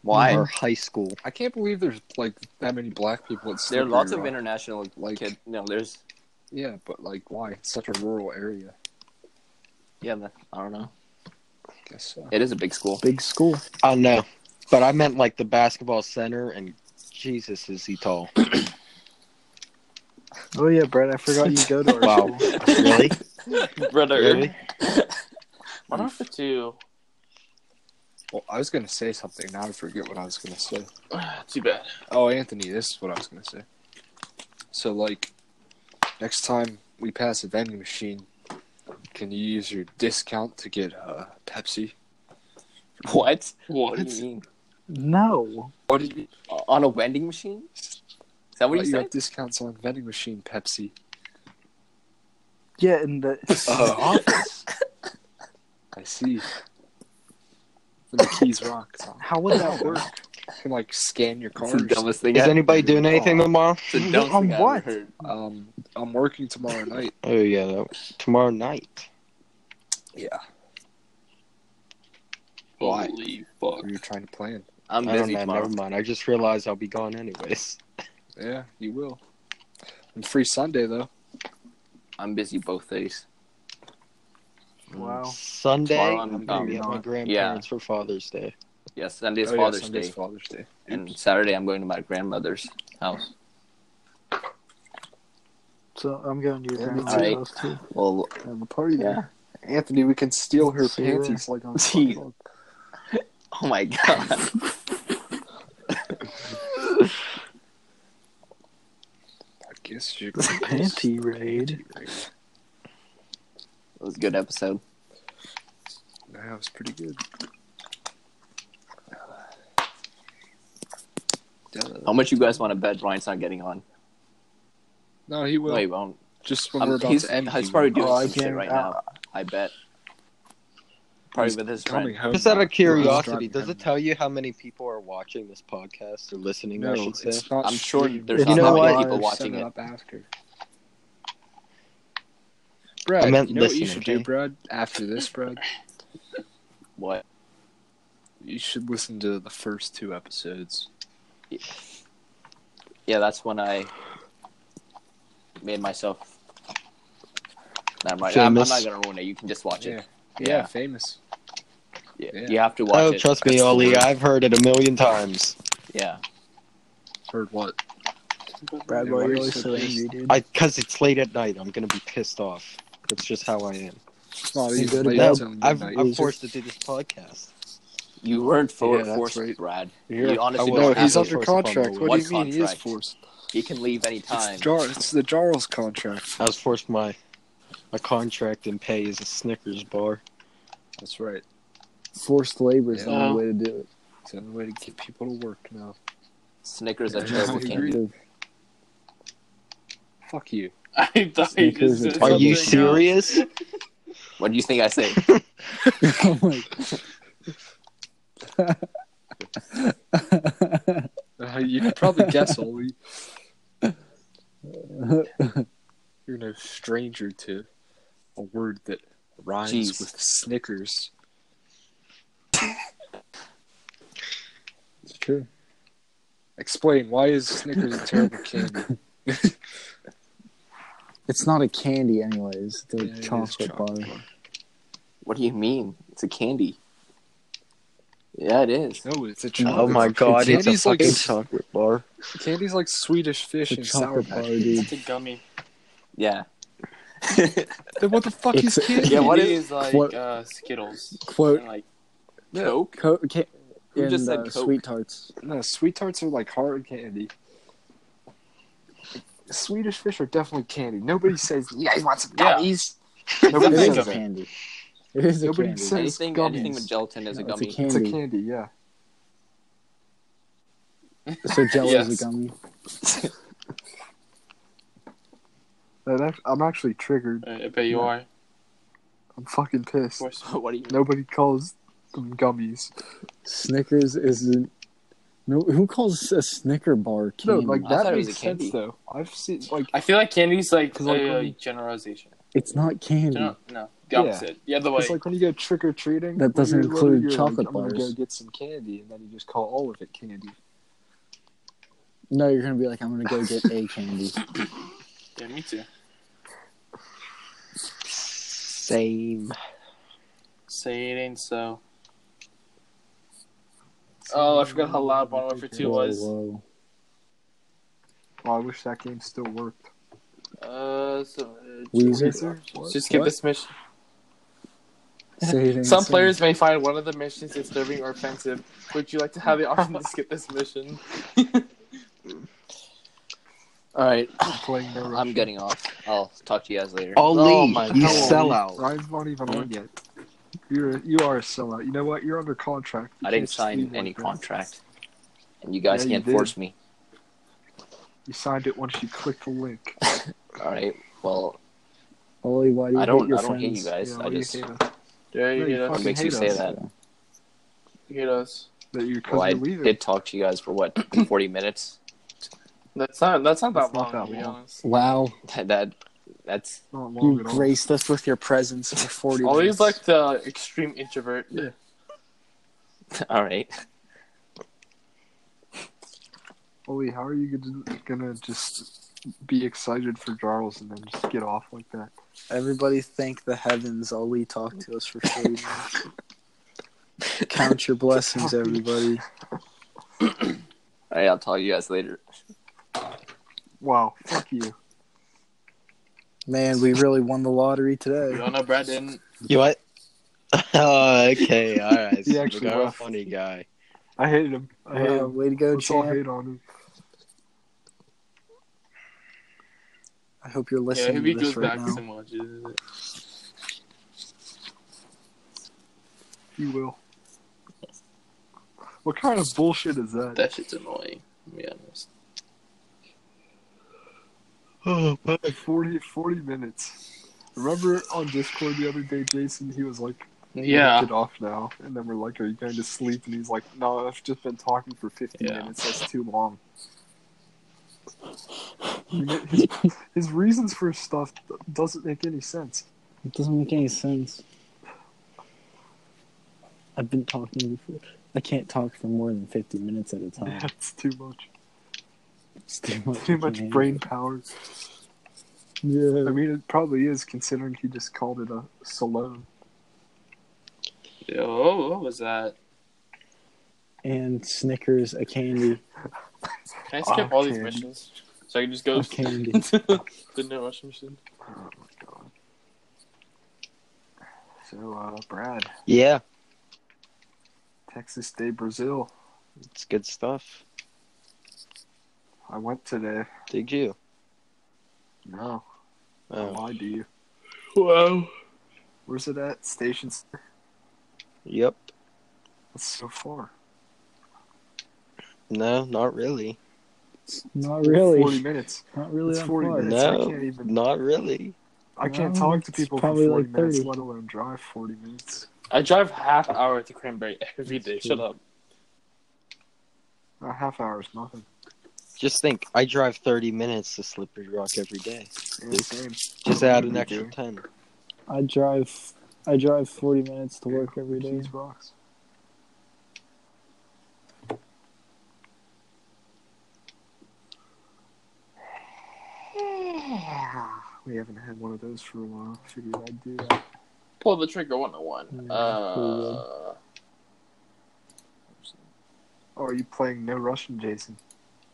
Speaker 1: Why?
Speaker 6: our high school.
Speaker 2: I can't believe there's like that many black people. At
Speaker 1: There are
Speaker 2: Slippery
Speaker 1: lots of
Speaker 2: Rock.
Speaker 1: international
Speaker 2: Like-
Speaker 1: kid. No, there's
Speaker 2: Yeah, but like, why? It's such a rural area.
Speaker 1: yeah, but I don't know.
Speaker 2: I guess so.
Speaker 1: It is a big school.
Speaker 4: Big school.
Speaker 6: I know, but I meant like the basketball center, and Jesus, is he tall?
Speaker 4: Oh yeah, Brett, I forgot you go to our
Speaker 6: Wow,
Speaker 4: school.
Speaker 6: really?
Speaker 5: Brother.
Speaker 6: Really?
Speaker 5: One off the two.
Speaker 2: Well, I was gonna say something. Now I forget what I was gonna say.
Speaker 5: Too bad.
Speaker 2: Oh, Anthony, this is what I was gonna say. So, like, next time we pass a vending machine, can you use your discount to get uh, Pepsi?
Speaker 1: What? What do you mean?
Speaker 4: No.
Speaker 2: What do you?
Speaker 1: On a vending machine? Is that what
Speaker 2: Like,
Speaker 1: you
Speaker 2: you
Speaker 1: said?
Speaker 2: have discounts on vending machine Pepsi.
Speaker 4: Yeah, in the
Speaker 2: Oh.
Speaker 4: office.
Speaker 2: I see. And the keys rock. So
Speaker 4: How would that work?
Speaker 2: you can like scan your
Speaker 1: It's the
Speaker 2: card.
Speaker 1: dumbest thing.
Speaker 6: Is
Speaker 1: ever.
Speaker 6: anybody doing anything tomorrow?
Speaker 1: It's the dumbest
Speaker 4: On
Speaker 1: thing I ever
Speaker 4: what?
Speaker 1: heard.
Speaker 2: Um, I'm working tomorrow night.
Speaker 6: Oh yeah, that tomorrow night.
Speaker 2: Yeah.
Speaker 6: Why?
Speaker 5: Holy fuck.
Speaker 2: What are you trying to plan?
Speaker 1: I'm
Speaker 6: I don't
Speaker 1: busy
Speaker 6: know.
Speaker 1: tomorrow.
Speaker 6: Never mind. I just realized I'll be gone anyways.
Speaker 2: Yeah, you will. I'm free Sunday though.
Speaker 1: I'm busy both days.
Speaker 4: Wow.
Speaker 6: Sunday,
Speaker 1: Tomorrow
Speaker 6: I'm,
Speaker 1: I'm
Speaker 6: gonna
Speaker 1: gone.
Speaker 6: be at my
Speaker 4: Yeah.
Speaker 6: grandparents for Father's Day.
Speaker 1: Yes, Sunday's
Speaker 2: Oh, yeah,
Speaker 1: Father's
Speaker 2: Sunday's
Speaker 1: Day,
Speaker 2: Father's Day.
Speaker 1: and Saturday I'm going to my grandmother's house.
Speaker 4: So I'm going to your
Speaker 2: Yeah, me
Speaker 4: grandma's
Speaker 1: too.
Speaker 4: house too.
Speaker 1: Well,
Speaker 2: Have a party
Speaker 1: yeah.
Speaker 2: there. Anthony, we can steal her
Speaker 4: See you
Speaker 2: panties like on
Speaker 1: See you.
Speaker 2: Spongebob.
Speaker 1: Oh my god.
Speaker 2: I guess you
Speaker 4: Panty raid.
Speaker 1: It was a good episode.
Speaker 2: That was pretty good.
Speaker 1: How much you guys want to bet Ryan's not getting on?
Speaker 2: No, he will.
Speaker 1: no, he won't.
Speaker 2: Just when
Speaker 1: Um,
Speaker 2: we're about
Speaker 1: he's,
Speaker 2: to end,
Speaker 1: he's
Speaker 2: he
Speaker 1: probably
Speaker 2: will.
Speaker 1: doing
Speaker 4: Oh, I
Speaker 1: some shit
Speaker 4: can't-
Speaker 1: right
Speaker 4: uh,
Speaker 1: now. I bet. Probably
Speaker 2: He's
Speaker 1: with his
Speaker 2: coming
Speaker 1: friend.
Speaker 2: home.
Speaker 6: Just out
Speaker 2: now.
Speaker 6: of curiosity,
Speaker 2: Driving
Speaker 6: does
Speaker 2: home.
Speaker 6: it tell you how many people are watching this podcast or listening?
Speaker 2: No,
Speaker 6: I should say.
Speaker 2: it's not.
Speaker 1: I'm sure
Speaker 2: streamed.
Speaker 1: there's
Speaker 6: You
Speaker 1: not
Speaker 6: know
Speaker 1: that many
Speaker 6: what?
Speaker 1: people
Speaker 2: I've
Speaker 1: watching
Speaker 2: set
Speaker 1: it.
Speaker 2: up after. Brad,
Speaker 6: I meant
Speaker 2: you know what you
Speaker 6: listening,
Speaker 2: should
Speaker 6: okay?
Speaker 2: do, Brad? After this, Brad,
Speaker 1: What?
Speaker 2: you should listen to the first two episodes.
Speaker 1: Yeah, that's when I made myself. Never mind. I'm, I'm
Speaker 6: Famous.
Speaker 1: not gonna ruin it. You can just watch
Speaker 2: Yeah.
Speaker 1: it.
Speaker 2: yeah,
Speaker 1: Yeah.
Speaker 2: famous.
Speaker 1: Yeah.
Speaker 2: Yeah.
Speaker 1: You have to watch
Speaker 6: Oh,
Speaker 1: it.
Speaker 6: trust me,
Speaker 2: That's the
Speaker 6: Ollie.
Speaker 2: word.
Speaker 6: I've heard it a million times.
Speaker 1: Yeah.
Speaker 2: Heard what?
Speaker 4: Brad,
Speaker 2: Yeah,
Speaker 4: why
Speaker 2: why
Speaker 4: are
Speaker 2: are
Speaker 4: you
Speaker 2: you
Speaker 4: always
Speaker 2: so
Speaker 4: so
Speaker 2: pissed?
Speaker 4: angry, dude?
Speaker 6: I because it's late at night. I'm gonna be pissed off. That's just how I am.
Speaker 2: It's not
Speaker 4: You
Speaker 2: even
Speaker 4: go to
Speaker 2: late.
Speaker 4: bed.
Speaker 2: it's only
Speaker 6: I've,
Speaker 2: midnight.
Speaker 6: I'm forced to do this podcast.
Speaker 1: You weren't for,
Speaker 2: Yeah, that's
Speaker 1: forced,
Speaker 2: right.
Speaker 1: Brad.
Speaker 2: You're-
Speaker 1: You honestly
Speaker 6: I
Speaker 1: don't
Speaker 2: no,
Speaker 6: will.
Speaker 1: have
Speaker 2: he's
Speaker 1: to.
Speaker 6: Absolutely.
Speaker 2: under
Speaker 6: Forced upon
Speaker 2: contract.
Speaker 6: me.
Speaker 2: What do
Speaker 1: What
Speaker 2: you mean he is
Speaker 1: contract?
Speaker 2: forced?
Speaker 1: He can leave
Speaker 2: It's,
Speaker 1: anytime.
Speaker 2: Jar- it's the Jarls contract.
Speaker 6: I was forced my my contract and pay is a Snickers bar.
Speaker 2: That's right.
Speaker 4: Forced labor is the
Speaker 5: Yeah.
Speaker 4: only way to do it.
Speaker 2: It's the only way to get people to work now.
Speaker 1: Snickers a
Speaker 2: Yeah,
Speaker 1: terrible
Speaker 2: I agree.
Speaker 1: candy.
Speaker 2: Fuck you.
Speaker 5: I thought you just
Speaker 4: Sneakers
Speaker 5: said
Speaker 4: and
Speaker 6: Are you
Speaker 5: something else.
Speaker 6: serious?
Speaker 1: What do you think I say?
Speaker 4: oh my
Speaker 2: Uh, you could probably guess, Ollie. You're no stranger to a word that rhymes
Speaker 1: Jeez.
Speaker 2: with Snickers.
Speaker 4: It's true.
Speaker 2: Explain why is Snickers a terrible candy?
Speaker 4: It's not a candy, anyways. It's a
Speaker 2: Yeah, it is
Speaker 4: chocolate
Speaker 2: chocolate
Speaker 4: bar.
Speaker 1: What do you mean? It's a candy. Yeah, it is.
Speaker 2: No, it's a chocolate.
Speaker 6: Oh my god, it's a
Speaker 2: candy's like
Speaker 6: fucking
Speaker 2: s-
Speaker 6: chocolate bar.
Speaker 2: Candy's like Swedish fish
Speaker 4: It's a
Speaker 2: and sour
Speaker 4: chocolate bar,
Speaker 2: patch.
Speaker 4: dude.
Speaker 5: It's a gummy.
Speaker 1: Yeah.
Speaker 2: Then what the fuck
Speaker 4: It's
Speaker 2: is
Speaker 4: a-
Speaker 2: candy?
Speaker 5: Yeah, what
Speaker 1: It
Speaker 5: is, like
Speaker 4: What-
Speaker 5: uh, Skittles?
Speaker 4: Quote,
Speaker 5: And, like
Speaker 1: Coke?
Speaker 4: co- ca-
Speaker 1: Who
Speaker 4: and,
Speaker 1: just said
Speaker 4: uh,
Speaker 1: Coke?
Speaker 4: sweet tarts.
Speaker 2: No, sweet tarts are like hard candy. Swedish fish are definitely candy. Nobody says, "You guys want some
Speaker 5: Yeah.
Speaker 2: gummies?"
Speaker 4: It
Speaker 2: Nobody
Speaker 5: It's a
Speaker 4: is
Speaker 2: says
Speaker 4: a
Speaker 5: gummy.
Speaker 2: that.
Speaker 4: candy. It is a
Speaker 2: Nobody
Speaker 4: candy.
Speaker 2: said- It's
Speaker 1: Anything,
Speaker 2: gummies.
Speaker 1: anything with gelatin is a
Speaker 4: No, it's a
Speaker 1: gummy.
Speaker 4: candy.
Speaker 2: It's a candy, yeah.
Speaker 4: So jello
Speaker 5: Yes.
Speaker 4: is a gummy.
Speaker 2: That act- I'm actually triggered.
Speaker 5: I I bet you are. Of
Speaker 2: I'm fucking pissed.
Speaker 5: course.
Speaker 1: what do you mean?
Speaker 2: Nobody calls them gummies.
Speaker 4: Snickers is an, no. Who calls a Snicker bar
Speaker 2: No,
Speaker 4: candy?
Speaker 2: like
Speaker 1: I
Speaker 2: that
Speaker 1: thought it was
Speaker 2: makes
Speaker 1: a candy.
Speaker 2: sense though. I've seen like
Speaker 5: I feel like candy's like,
Speaker 2: 'Cause, like,
Speaker 5: a
Speaker 2: when-
Speaker 5: generalization.
Speaker 4: it's not candy.
Speaker 5: Gener- no, the
Speaker 2: Hmm. Yeah.
Speaker 5: opposite. The other way.
Speaker 2: it's like when you go trick or treating.
Speaker 4: That doesn't
Speaker 2: you're literally-
Speaker 4: include
Speaker 2: you're
Speaker 4: chocolate
Speaker 2: like, I'm gonna
Speaker 4: bars.
Speaker 2: go get some candy, and then you just call all of it candy.
Speaker 4: No, you're gonna be like, I'm gonna go get a candy.
Speaker 5: yeah, me too.
Speaker 6: Same.
Speaker 5: Say it ain't so. Oh, I forgot how loud Modern Warfare 2 was.
Speaker 4: Whoa,
Speaker 2: Well, I wish that game still worked.
Speaker 5: Uh, so, uh,
Speaker 4: Weezer.
Speaker 5: just skip
Speaker 4: What?
Speaker 5: this mission.
Speaker 4: Say it ain't
Speaker 5: Some
Speaker 4: so.
Speaker 5: players may find one of the missions disturbing or offensive. Would you like to have the option to skip this mission?
Speaker 1: All right,
Speaker 2: Playing no
Speaker 1: I'm getting off. I'll talk to you guys later.
Speaker 6: Ollie,
Speaker 5: Oh my
Speaker 6: you
Speaker 5: God.
Speaker 6: sellout.
Speaker 2: Ryan's not even
Speaker 1: Hmm?
Speaker 2: on yet. You're you are a sellout. You know what? You're under contract. You
Speaker 1: I didn't
Speaker 2: can't
Speaker 1: sign
Speaker 2: leave
Speaker 1: any
Speaker 2: like that.
Speaker 1: contract, and you guys
Speaker 2: Yeah, you
Speaker 1: can't
Speaker 2: did.
Speaker 1: force me.
Speaker 2: You signed it once you clicked the link.
Speaker 1: All right. Well,
Speaker 4: Ollie, why do you
Speaker 1: I don't.
Speaker 4: hate your
Speaker 1: I don't
Speaker 4: friends?
Speaker 1: hate you guys.
Speaker 2: Yeah,
Speaker 1: I
Speaker 2: what do you
Speaker 1: just.
Speaker 2: hate
Speaker 1: What
Speaker 2: about-
Speaker 5: Yeah, you
Speaker 2: No, you
Speaker 5: hate us.
Speaker 2: fucking
Speaker 1: makes you
Speaker 2: hate
Speaker 1: say
Speaker 2: us.
Speaker 1: that?
Speaker 5: You hate us.
Speaker 2: That you because
Speaker 1: Well, I
Speaker 2: you're leaving.
Speaker 1: did talk to you guys for what 40 minutes.
Speaker 5: That's not. That's not
Speaker 2: That's
Speaker 5: that long.
Speaker 2: not
Speaker 5: to
Speaker 2: that
Speaker 5: be
Speaker 2: long.
Speaker 5: honest.
Speaker 4: Wow,
Speaker 1: That, that that's
Speaker 2: Not long
Speaker 4: you
Speaker 2: at all.
Speaker 4: graced us with your presence for forty.
Speaker 5: Ollie's
Speaker 4: minutes.
Speaker 5: like the extreme introvert.
Speaker 1: All right.
Speaker 2: Holy, how are you gonna- gonna just be excited for Jarls and then just get off like that?
Speaker 4: Everybody thank the heavens. Ali talked to us for food. Count your blessings, everybody.
Speaker 1: All right. I'll talk to you guys later.
Speaker 2: Wow, fuck you.
Speaker 4: Man, we really won the lottery today.
Speaker 5: No, no, Brad didn't.
Speaker 6: You what? Oh, okay, all right.
Speaker 2: He
Speaker 6: So
Speaker 2: actually
Speaker 6: we got a
Speaker 2: left.
Speaker 6: funny guy.
Speaker 2: I hated him. I hated
Speaker 4: Wow,
Speaker 2: him.
Speaker 4: way to go,
Speaker 2: Let's all
Speaker 4: champ.
Speaker 2: hate on him.
Speaker 4: I hope you're
Speaker 5: Yeah,
Speaker 4: listening
Speaker 5: if he
Speaker 4: to
Speaker 5: goes
Speaker 4: this right
Speaker 5: back
Speaker 4: now.
Speaker 5: and watches it.
Speaker 2: He will. What kind of bullshit is that?
Speaker 5: That shit's annoying. To be honest.
Speaker 6: Oh, but
Speaker 2: 40, 40 minutes. Remember on Discord the other day, Jason, he was like,
Speaker 5: Yeah.
Speaker 2: get off now. And then we're like, are you going to sleep? And he's like, no, I've just been talking for 15
Speaker 5: Yeah.
Speaker 2: minutes. That's too long. He ma- His, his reasons for stuff doesn't make any sense.
Speaker 4: It doesn't make any sense. I've been talking before. I can't talk for more than 50 minutes at a time.
Speaker 2: That's too much.
Speaker 4: Oh. It's too much.
Speaker 2: Too much
Speaker 4: man.
Speaker 2: brain power. I
Speaker 4: Yeah.
Speaker 2: mean, it probably is, considering he just called it a salon.
Speaker 5: Oh, what was that?
Speaker 4: And Snickers, a candy.
Speaker 5: Can I skip all these
Speaker 2: Okay.
Speaker 5: missions? So I can just go
Speaker 4: A candy.
Speaker 5: to the no rush mission?
Speaker 2: So, uh, Brad,
Speaker 6: yeah,
Speaker 2: Texas Day, Brazil.
Speaker 6: it's good stuff.
Speaker 2: I went today.
Speaker 6: Did you?
Speaker 2: No, I
Speaker 6: Oh,
Speaker 2: lied to you.
Speaker 5: Wow.
Speaker 2: Where's it at? Stations.
Speaker 6: yep.
Speaker 2: That's so far.
Speaker 6: No, not really.
Speaker 4: Not really.
Speaker 2: Forty minutes.
Speaker 4: Not really
Speaker 2: It's
Speaker 4: that
Speaker 2: 40
Speaker 4: far.
Speaker 2: minutes.
Speaker 6: No,
Speaker 2: Oh, I can't even-
Speaker 6: not really.
Speaker 2: I can't
Speaker 4: No,
Speaker 2: talk to
Speaker 4: it's
Speaker 2: people for
Speaker 4: probably
Speaker 2: forty
Speaker 4: like
Speaker 2: minutes,
Speaker 4: 30.
Speaker 2: let alone drive forty minutes.
Speaker 5: I drive half hour to Cranberry every day. Shut up.
Speaker 2: A half hour is nothing.
Speaker 6: Just think, I drive 30 minutes to Slippery Rock every day.
Speaker 2: Yeah, same.
Speaker 6: Just add an extra 10.
Speaker 4: I drive. I drive 40 minutes to work every day.
Speaker 2: Cheese rocks. We haven't had one of those for a while. Figured I'd do that.
Speaker 5: Pull the trigger 101. Uh,
Speaker 2: Oh, are you playing No Russian, Jason?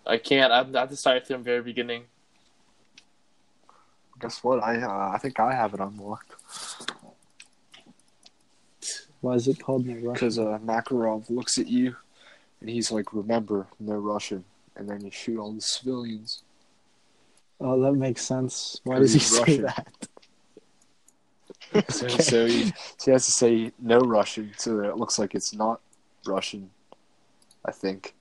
Speaker 5: I can't. I'm not decided from the very beginning.
Speaker 2: Guess what? I uh, I think I have it unlocked
Speaker 4: Why is it called No Rush?
Speaker 7: Because uh, Makarov looks at you and he's like, remember, no Russian. And then you shoot all the civilians.
Speaker 4: Oh, that makes sense. Why
Speaker 7: Because
Speaker 4: does he
Speaker 7: he's
Speaker 4: say
Speaker 7: Russian.
Speaker 4: that?
Speaker 7: So, so, he, so he has to say no Russian so that it looks like it's not Russian, I think.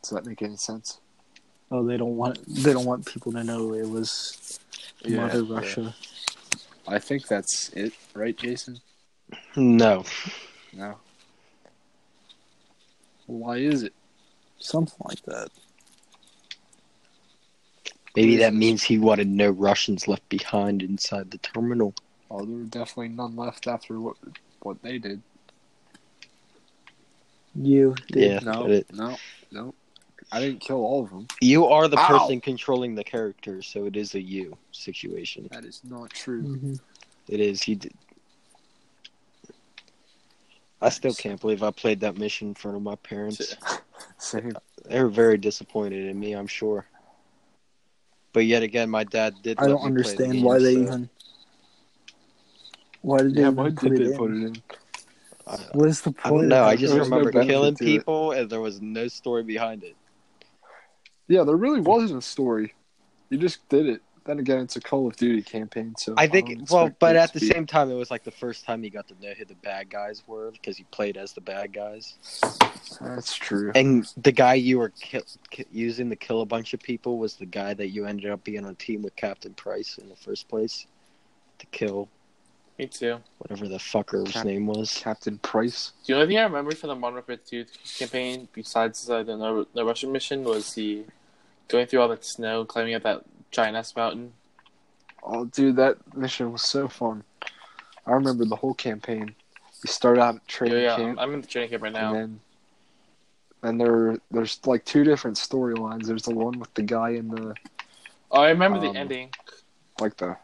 Speaker 7: Does that make any sense?
Speaker 4: Oh, they don't want. They don't want people to know it was Mother Russia.
Speaker 7: I think that's it, right, Jason?
Speaker 6: No.
Speaker 7: No. Why is it?
Speaker 4: Something like that.
Speaker 6: Maybe that means he wanted no Russians left behind inside the terminal.
Speaker 7: Well, Oh, there were definitely none left after what what they did.
Speaker 4: You.
Speaker 6: Yeah.
Speaker 7: no,
Speaker 6: it-
Speaker 7: no, no. I didn't kill all of them.
Speaker 6: You are the
Speaker 7: Ow.
Speaker 6: person controlling the character, so it is a you situation.
Speaker 7: That is not
Speaker 6: Mm.
Speaker 7: true.
Speaker 4: Mhm.
Speaker 6: It is. He did. I still can't believe I played that mission in front of my parents.
Speaker 7: Same.
Speaker 6: They were very disappointed in me, I'm sure. But yet again, my dad did.
Speaker 4: I
Speaker 6: let
Speaker 4: don't
Speaker 6: me play the
Speaker 4: understand
Speaker 6: game,
Speaker 4: why they
Speaker 6: so
Speaker 4: even. Why did they
Speaker 2: Yeah,
Speaker 4: even
Speaker 2: why
Speaker 4: put
Speaker 2: did
Speaker 4: it
Speaker 2: they
Speaker 4: in?
Speaker 2: put it in?
Speaker 6: I,
Speaker 4: What is the
Speaker 6: I
Speaker 4: point?
Speaker 6: don't know.
Speaker 4: of
Speaker 6: I
Speaker 4: that?
Speaker 6: just
Speaker 2: There was no
Speaker 6: remember
Speaker 2: benefit
Speaker 6: killing
Speaker 2: to it.
Speaker 6: people, and there was no story behind it.
Speaker 7: Yeah, there really wasn't a story. You just did it. Then again, it's a Call of Duty campaign, so
Speaker 6: I
Speaker 7: don't
Speaker 6: think. Well,
Speaker 7: expect
Speaker 6: but
Speaker 7: it
Speaker 6: at
Speaker 7: to
Speaker 6: the
Speaker 7: be-
Speaker 6: same time, it was like the first time he got to know who the bad guys were because he played as the bad guys.
Speaker 7: that's true.
Speaker 6: And the guy you were ki- ki- using to kill a bunch of people was the guy that you ended up being on team with Captain Price in the first place to kill
Speaker 5: Me too.
Speaker 6: whatever the fucker's
Speaker 7: Cap-
Speaker 6: name was.
Speaker 7: Captain Price.
Speaker 5: The only thing I remember from the Modern Warfare 2 campaign, besides uh, the, no- the Russian mission, was the going through all that snow, climbing up that giant ass mountain.
Speaker 7: Oh, dude, that mission was so fun. I remember the whole campaign.
Speaker 2: You start out at
Speaker 5: Yeah,
Speaker 2: training
Speaker 5: yeah,
Speaker 2: camp,
Speaker 5: I'm in the training camp right
Speaker 2: and
Speaker 5: now.
Speaker 2: then and there there's like two different storylines. There's the one with the guy in the
Speaker 5: Oh, I remember
Speaker 2: um,
Speaker 5: the ending.
Speaker 2: like the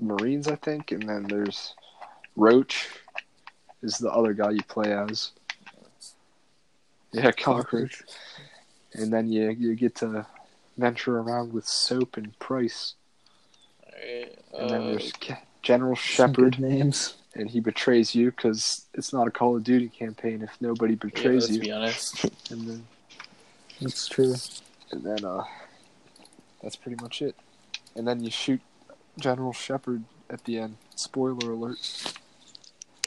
Speaker 2: Marines, I think, and then there's Roach is the other guy you play as. Yeah, cockroach. And then you you get to venture around with Soap and Price,
Speaker 5: Alright,
Speaker 2: and then
Speaker 5: uh,
Speaker 2: there's Ca- General
Speaker 4: Some good
Speaker 2: Shepard,
Speaker 4: names.
Speaker 2: and he betrays you because it's not a Call of Duty campaign if nobody
Speaker 5: yeah,
Speaker 2: betrays
Speaker 5: let's
Speaker 2: you.
Speaker 5: be honest.
Speaker 2: And then
Speaker 4: That's true.
Speaker 2: and then uh, that's pretty much it. And then you shoot General Shepard at the end. Spoiler alert.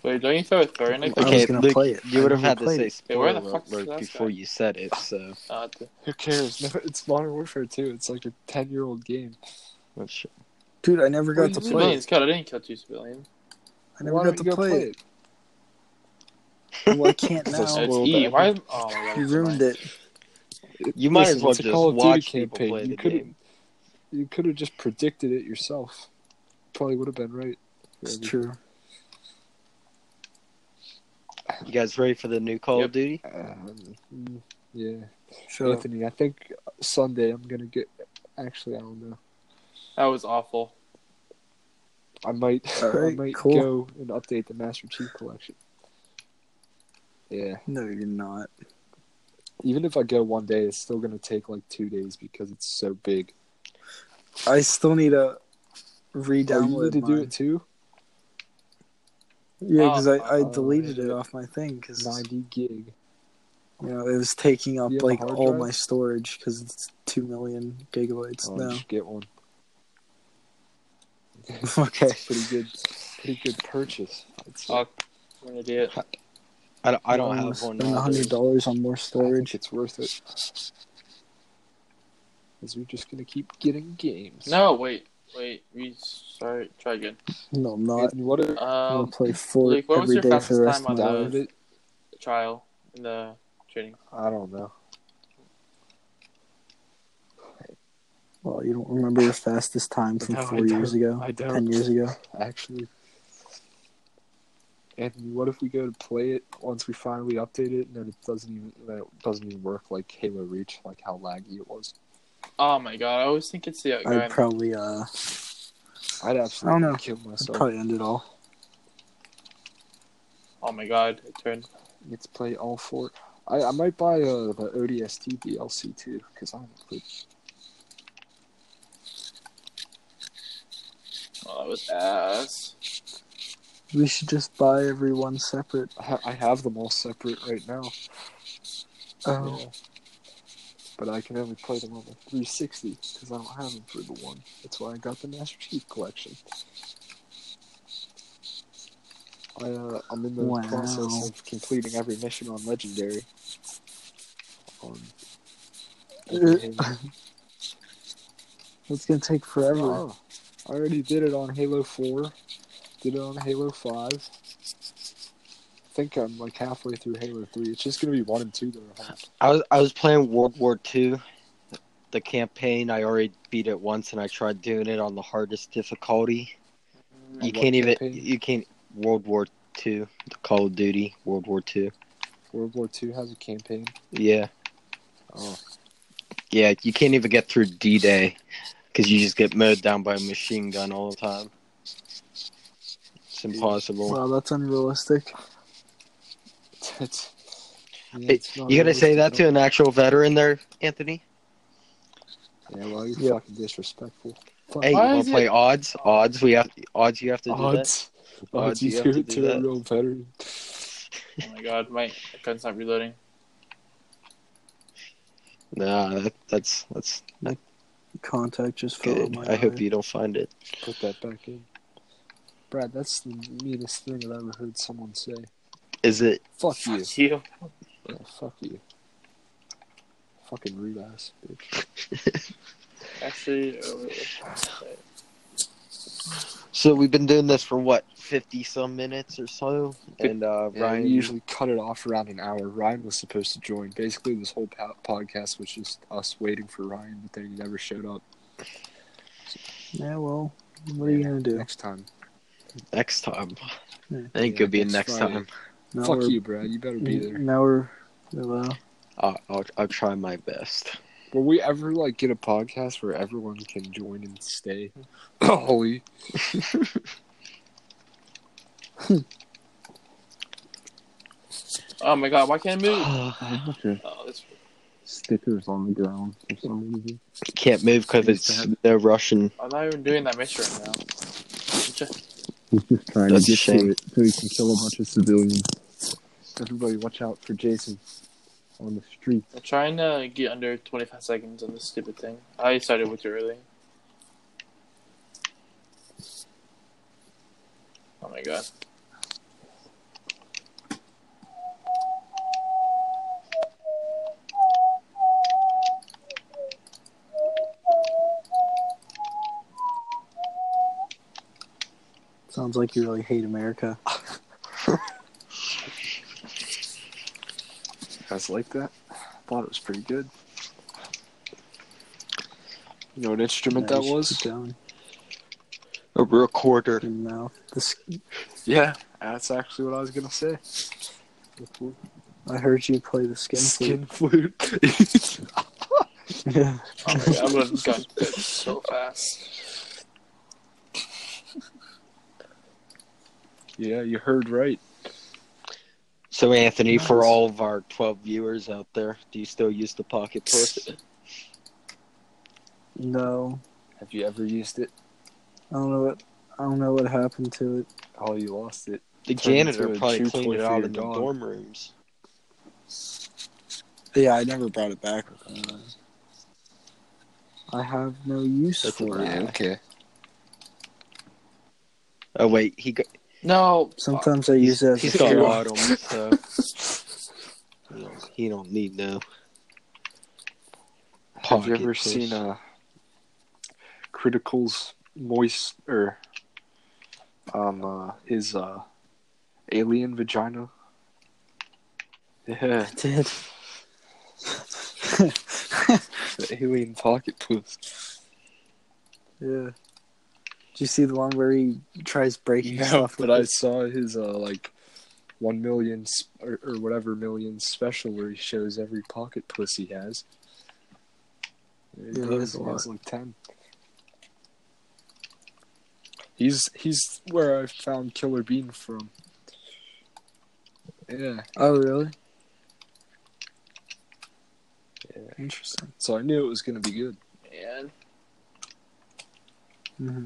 Speaker 5: Wait, don't you throw a throw in like
Speaker 4: I was
Speaker 6: Okay,
Speaker 4: gonna
Speaker 6: Luke,
Speaker 4: play it.
Speaker 6: you
Speaker 4: I
Speaker 6: would have
Speaker 4: never
Speaker 6: had to
Speaker 4: played
Speaker 6: say
Speaker 4: it.
Speaker 5: Wait, where
Speaker 6: spoiler
Speaker 5: the fuck's the
Speaker 6: alert
Speaker 5: last
Speaker 6: before
Speaker 5: guy?
Speaker 6: you said it, so
Speaker 5: uh, the-
Speaker 2: Who cares? No, it's Modern Warfare 2. It's like a 10 year old game.
Speaker 6: that's
Speaker 4: Dude, I never
Speaker 2: What do
Speaker 4: got to
Speaker 2: you
Speaker 4: play.
Speaker 5: civilians killed. I didn't kill two civilians.
Speaker 4: I never got to play it. Well, I can't
Speaker 2: It's a
Speaker 4: now.
Speaker 5: It's
Speaker 2: spoiled
Speaker 5: E.
Speaker 2: that.
Speaker 5: Why? is- Oh my god.
Speaker 4: You
Speaker 5: it's
Speaker 4: ruined
Speaker 5: mine.
Speaker 4: it.
Speaker 6: You might as well
Speaker 2: it's a
Speaker 6: just
Speaker 2: Call of Duty
Speaker 6: watch people
Speaker 2: campaign.
Speaker 6: play
Speaker 2: You
Speaker 6: the
Speaker 2: could've-
Speaker 6: game.
Speaker 2: You could have just predicted it yourself. Probably would have been right.
Speaker 4: It's
Speaker 2: Maybe.
Speaker 4: true.
Speaker 6: You guys ready for the new Call
Speaker 5: Yep.
Speaker 6: of Duty?
Speaker 2: Um, mm, yeah.
Speaker 4: Shut up.
Speaker 2: Anthony, I think Sunday I'm going to get. Actually, I don't know.
Speaker 5: That was awful.
Speaker 2: I might, I
Speaker 4: Alright,
Speaker 2: might
Speaker 4: cool.
Speaker 2: go and update the Master Chief Collection. Yeah.
Speaker 4: No, you're not.
Speaker 2: Even if I go one day, it's still going to take like two days because it's so big.
Speaker 4: I still need
Speaker 2: Oh,
Speaker 4: to
Speaker 2: you need
Speaker 4: re-download
Speaker 2: to do
Speaker 4: mine.
Speaker 2: it too?
Speaker 4: Yeah, because I,
Speaker 5: Oh,
Speaker 4: I
Speaker 2: oh,
Speaker 4: deleted
Speaker 2: yeah.
Speaker 4: it off my thing because
Speaker 2: 90 gig.
Speaker 4: you know it was taking up
Speaker 2: You have a
Speaker 4: like
Speaker 2: hard
Speaker 4: all
Speaker 2: drive?
Speaker 4: my storage because it's two million gigabytes
Speaker 2: Oh, you
Speaker 4: now.
Speaker 2: should get one.
Speaker 4: okay.
Speaker 2: It's pretty good, pretty good purchase. It's,
Speaker 5: Oh, I'm an idiot.
Speaker 6: I don't, I don't
Speaker 4: I'm gonna
Speaker 6: have one
Speaker 4: Um, Spend
Speaker 6: now.
Speaker 4: hundred dollars on more
Speaker 2: I think
Speaker 4: storage.
Speaker 2: it's worth it. Because we're just gonna keep getting games.
Speaker 5: No, wait, wait. We sorry. Try again.
Speaker 4: No, I'm not.
Speaker 2: Anthony, what if
Speaker 4: I'm
Speaker 5: Um,
Speaker 4: gonna play Fort
Speaker 5: Luke, what was
Speaker 4: every
Speaker 5: your
Speaker 4: day for the
Speaker 5: fastest
Speaker 4: rest
Speaker 5: time
Speaker 4: of my
Speaker 5: on
Speaker 4: life.
Speaker 2: download
Speaker 5: the-
Speaker 2: it?
Speaker 5: trial in the training.
Speaker 2: I don't know.
Speaker 4: Well, you don't remember your fastest time from
Speaker 2: No, I
Speaker 4: four years
Speaker 2: don't.
Speaker 4: ago,
Speaker 2: I don't.
Speaker 4: ten years ago.
Speaker 2: Actually, Anthony, what if we go to play it once we finally update it, and then it doesn't even then it doesn't even work like Halo Reach, like how laggy it was.
Speaker 5: Oh my god, I always think it's the guy.
Speaker 4: I'd probably uh,
Speaker 2: I'd absolutely
Speaker 4: know.
Speaker 2: kill
Speaker 4: I'd
Speaker 2: myself.
Speaker 4: probably end it all.
Speaker 5: oh my god, it turned.
Speaker 2: Let's play all four. I, I might buy uh, the ODST DLC too because I haven't played
Speaker 5: Oh, that was ass.
Speaker 4: We should just buy everyone separate.
Speaker 2: I ha- I have them all separate right now,
Speaker 4: Oh,
Speaker 2: but I can only play them on the 360 because I don't have them for the one. That's why I got the Master Chief Collection. I, uh, I'm in the
Speaker 4: Wow.
Speaker 2: process of completing every mission on Legendary. Um, On
Speaker 4: it's gonna take forever.
Speaker 2: Oh, I already did it on Halo 4. Did it on Halo 5. I think I'm like halfway through Halo 3. It's just gonna be one and two that are hard.
Speaker 6: I was I was playing World War II, the campaign. I already beat it once, and I tried doing it on the hardest difficulty. You
Speaker 2: what
Speaker 6: can't even.
Speaker 2: campaign?
Speaker 6: You can't. World War II, the Call of Duty, World War II.
Speaker 2: World War 2 has a campaign.
Speaker 6: Yeah,
Speaker 2: Oh,
Speaker 6: yeah. You can't even get through D Day because you just get mowed down by a machine gun all the time. It's impossible.
Speaker 4: Wow, that's unrealistic.
Speaker 2: it's, yeah,
Speaker 6: Hey,
Speaker 2: it's not
Speaker 6: you gonna say
Speaker 2: realistic
Speaker 6: that to
Speaker 2: at
Speaker 6: an actual veteran, there, Anthony?
Speaker 2: all. Yeah, well, you're
Speaker 4: Yeah.
Speaker 2: fucking disrespectful. Fuck.
Speaker 6: Hey, you
Speaker 5: Why
Speaker 6: wanna
Speaker 5: is it-
Speaker 6: play odds? Odds. We have odds. You have to do that.
Speaker 2: odds.
Speaker 6: Odds,
Speaker 2: Odds, you
Speaker 6: you have
Speaker 2: do
Speaker 6: to
Speaker 2: it
Speaker 6: do
Speaker 2: to a
Speaker 6: that.
Speaker 2: real veteran.
Speaker 5: Oh my god, my gun's not reloading.
Speaker 6: Nah, that, that's that's not
Speaker 4: Contact just fell.
Speaker 6: good.
Speaker 4: in Oh my
Speaker 6: I hope
Speaker 4: eye.
Speaker 6: you don't find it.
Speaker 2: Put that back in. Brad, that's the meanest thing I've ever heard someone say.
Speaker 6: Is it?
Speaker 2: Fuck you.
Speaker 5: You.
Speaker 2: Yeah, fuck you. Fucking rude ass, bitch.
Speaker 5: Actually, uh,
Speaker 6: So we've been doing this for what fifty some minutes or so, and uh,
Speaker 2: Yeah,
Speaker 6: Ryan
Speaker 2: we usually cut it off around an hour. Ryan was supposed to join. Basically, this whole po- podcast was just us waiting for Ryan, but then he never showed up.
Speaker 4: Yeah, well, what are you
Speaker 2: Yeah,
Speaker 4: gonna do?
Speaker 2: next time?
Speaker 6: Next time.
Speaker 4: Yeah.
Speaker 6: I think it'll be
Speaker 2: next
Speaker 6: next
Speaker 2: Friday.
Speaker 6: time.
Speaker 4: Now
Speaker 2: Fuck
Speaker 4: we're-
Speaker 2: you, Brad. You better be
Speaker 8: Mm-hmm.
Speaker 2: there.
Speaker 4: Now we're well,
Speaker 6: I'll, I'll, I'll try my best.
Speaker 2: Will we ever like get a podcast where everyone can join and stay? Holy,
Speaker 5: Oh my god, why can't I move?
Speaker 6: Can't
Speaker 5: Oh, that's
Speaker 8: Stickers on the ground for some reason.
Speaker 6: move because it's they're Russian.
Speaker 5: I'm not even doing that mission right now. I'm just-
Speaker 8: He's just trying
Speaker 6: That's
Speaker 8: to
Speaker 6: a
Speaker 8: get
Speaker 6: shame.
Speaker 8: to it so he can kill a bunch of civilians.
Speaker 2: everybody, watch out for Jason.
Speaker 8: on the street.
Speaker 5: I'm trying to get under 25 seconds on this stupid thing. I started way too early. Oh my god.
Speaker 4: sounds like you really hate America.
Speaker 2: You guys like that? Thought it was pretty good. You know what instrument
Speaker 4: Yeah, you
Speaker 2: that
Speaker 4: should
Speaker 2: was?
Speaker 4: keep going.
Speaker 6: A recorder.
Speaker 4: Your mouth. This,
Speaker 2: Yeah, that's actually what I was gonna say.
Speaker 4: I heard you play the skin.
Speaker 2: Skin flute.
Speaker 4: flute. Yeah.
Speaker 5: Oh my god, I'm gonna go so fast.
Speaker 2: yeah, you heard right.
Speaker 6: So Anthony, for all of our twelve viewers out there, do you still use the pocket puss?
Speaker 4: No,
Speaker 2: Have you ever used it?
Speaker 4: I don't know what I don't know what happened to it.
Speaker 2: Oh, you lost it.
Speaker 6: The
Speaker 2: Turned into
Speaker 6: janitor
Speaker 2: a
Speaker 6: probably
Speaker 2: chew
Speaker 6: cleaned
Speaker 2: toy
Speaker 6: it
Speaker 2: for
Speaker 6: out
Speaker 2: your
Speaker 6: in the
Speaker 2: dog.
Speaker 6: dorm rooms.
Speaker 4: Yeah, I never brought it back. Uh, I have no use
Speaker 6: That's
Speaker 4: for
Speaker 6: a-
Speaker 4: it.
Speaker 6: Yeah,
Speaker 2: okay.
Speaker 6: Oh wait, he got
Speaker 5: No.
Speaker 4: Sometimes I use it as
Speaker 6: he's
Speaker 4: a
Speaker 6: got
Speaker 4: shield.
Speaker 6: autumn, so he don't, he don't need
Speaker 2: Have you
Speaker 6: no. pocket
Speaker 2: ever
Speaker 6: puss.
Speaker 2: seen uh, Critical's moist or um uh, his uh, alien vagina? Yeah,
Speaker 4: I did.
Speaker 2: the alien pocket puss.
Speaker 4: Yeah. Do you see the one where he tries breaking
Speaker 2: No,
Speaker 4: stuff?
Speaker 2: but
Speaker 4: with
Speaker 2: I
Speaker 4: it?
Speaker 2: saw his uh, like one million s- or, or whatever million special where he shows every pocket puss he has. He
Speaker 4: Yeah, he
Speaker 2: does,
Speaker 4: has a
Speaker 2: he
Speaker 4: lot.
Speaker 2: has like ten. He's he's where I found Killer Bean from. Yeah,
Speaker 4: Oh, really?
Speaker 2: Yeah.
Speaker 4: Interesting.
Speaker 2: so I knew it was gonna be good.
Speaker 5: Man.
Speaker 4: hmm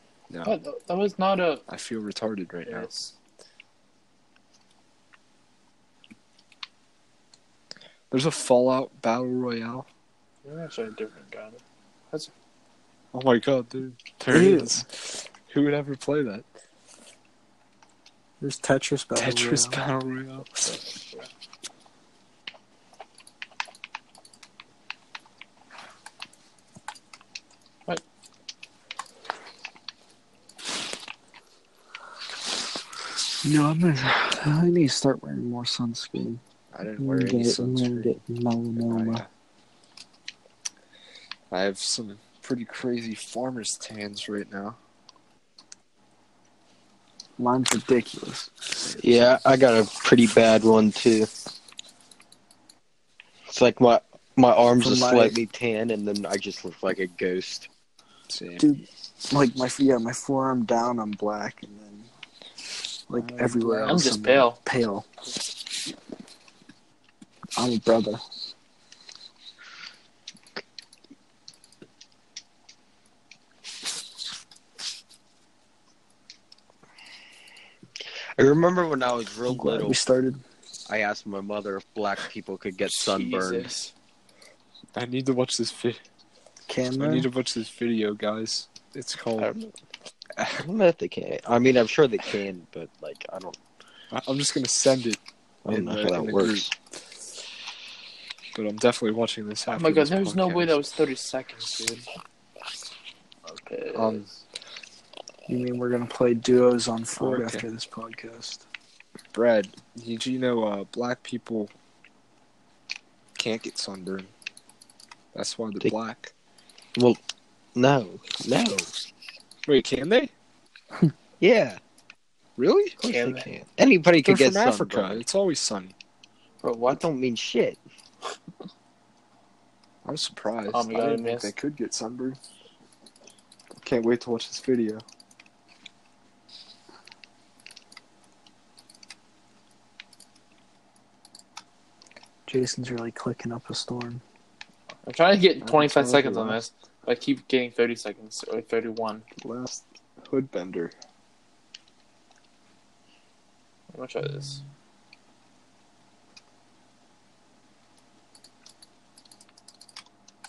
Speaker 2: No.
Speaker 5: What? That was not a.
Speaker 2: I feel retarded right now.
Speaker 5: Yes.
Speaker 2: There's a Fallout Battle Royale.
Speaker 5: You're actually a different gun.
Speaker 2: Oh my god, dude. There
Speaker 4: Ew.
Speaker 2: it is. Who would ever play that?
Speaker 4: There's Tetris Battle
Speaker 2: Tetris
Speaker 4: Royale.
Speaker 2: Battle Royale.
Speaker 4: No, I'm gonna. I need to start wearing more sunscreen.
Speaker 2: I didn't
Speaker 4: I'm
Speaker 2: wear
Speaker 4: gonna
Speaker 2: any
Speaker 4: get, I'm gonna
Speaker 2: sunscreen.
Speaker 4: get melanoma.
Speaker 2: I, I have some pretty crazy farmer's tans right now.
Speaker 4: Mine's ridiculous.
Speaker 6: Yeah, I got a pretty bad one too. It's like my my arms
Speaker 4: For
Speaker 6: are
Speaker 4: my-
Speaker 6: slightly tan, and then I just look like a ghost.
Speaker 2: Same.
Speaker 4: Dude, like my yeah, my forearm down, I'm black, and then like everywhere
Speaker 5: I'm
Speaker 4: else,
Speaker 5: just pale.
Speaker 4: Pale. I'm a brother.
Speaker 6: I remember when I was real
Speaker 4: I'm glad
Speaker 6: little,
Speaker 4: we started.
Speaker 6: I asked my mother if black people could get sunburned.
Speaker 5: Jesus.
Speaker 2: I need to watch this video.
Speaker 4: Camera.
Speaker 2: I need to watch this video, guys.
Speaker 7: It's
Speaker 6: I
Speaker 7: called.
Speaker 6: don't know. I don't know if they can. I mean, I'm sure they can, but like, I don't.
Speaker 7: I- I'm just gonna send it,
Speaker 6: I don't
Speaker 7: In
Speaker 6: know
Speaker 7: the-
Speaker 6: how
Speaker 7: in
Speaker 6: that
Speaker 7: the
Speaker 6: works.
Speaker 7: but I'm definitely watching this.
Speaker 5: Oh
Speaker 7: After
Speaker 5: my god,
Speaker 7: this
Speaker 5: there's no way
Speaker 7: podcast.
Speaker 5: that was 30 seconds, dude. Okay.
Speaker 7: Um,
Speaker 4: You mean we're gonna play duos on Ford
Speaker 7: Okay.
Speaker 4: after this podcast?
Speaker 7: Brad, you, do you know uh, black people can't get sunburn? That's why they're
Speaker 6: They-
Speaker 7: black.
Speaker 6: Well, no, no.
Speaker 7: Wait, can they?
Speaker 6: Yeah,
Speaker 7: Really?
Speaker 6: of course
Speaker 5: Can
Speaker 6: they
Speaker 5: they?
Speaker 6: can. Anybody
Speaker 7: They're
Speaker 6: could get
Speaker 7: from Africa.
Speaker 6: sunburned.
Speaker 7: It's always sunny.
Speaker 5: Bro,
Speaker 6: What
Speaker 5: what?
Speaker 6: don't mean shit.
Speaker 7: I'm surprised.
Speaker 5: Oh my
Speaker 2: I
Speaker 5: god, I
Speaker 2: didn't think
Speaker 5: missed.
Speaker 2: they could get sunburned. Can't wait to watch this video.
Speaker 4: Jason's really clicking up a storm.
Speaker 5: I'm trying to get
Speaker 2: That's
Speaker 5: 25
Speaker 2: totally
Speaker 5: seconds on
Speaker 2: wrong.
Speaker 5: this. but I keep getting 30 seconds or 31.
Speaker 2: Last Hoodbender.
Speaker 5: I'm gonna try this.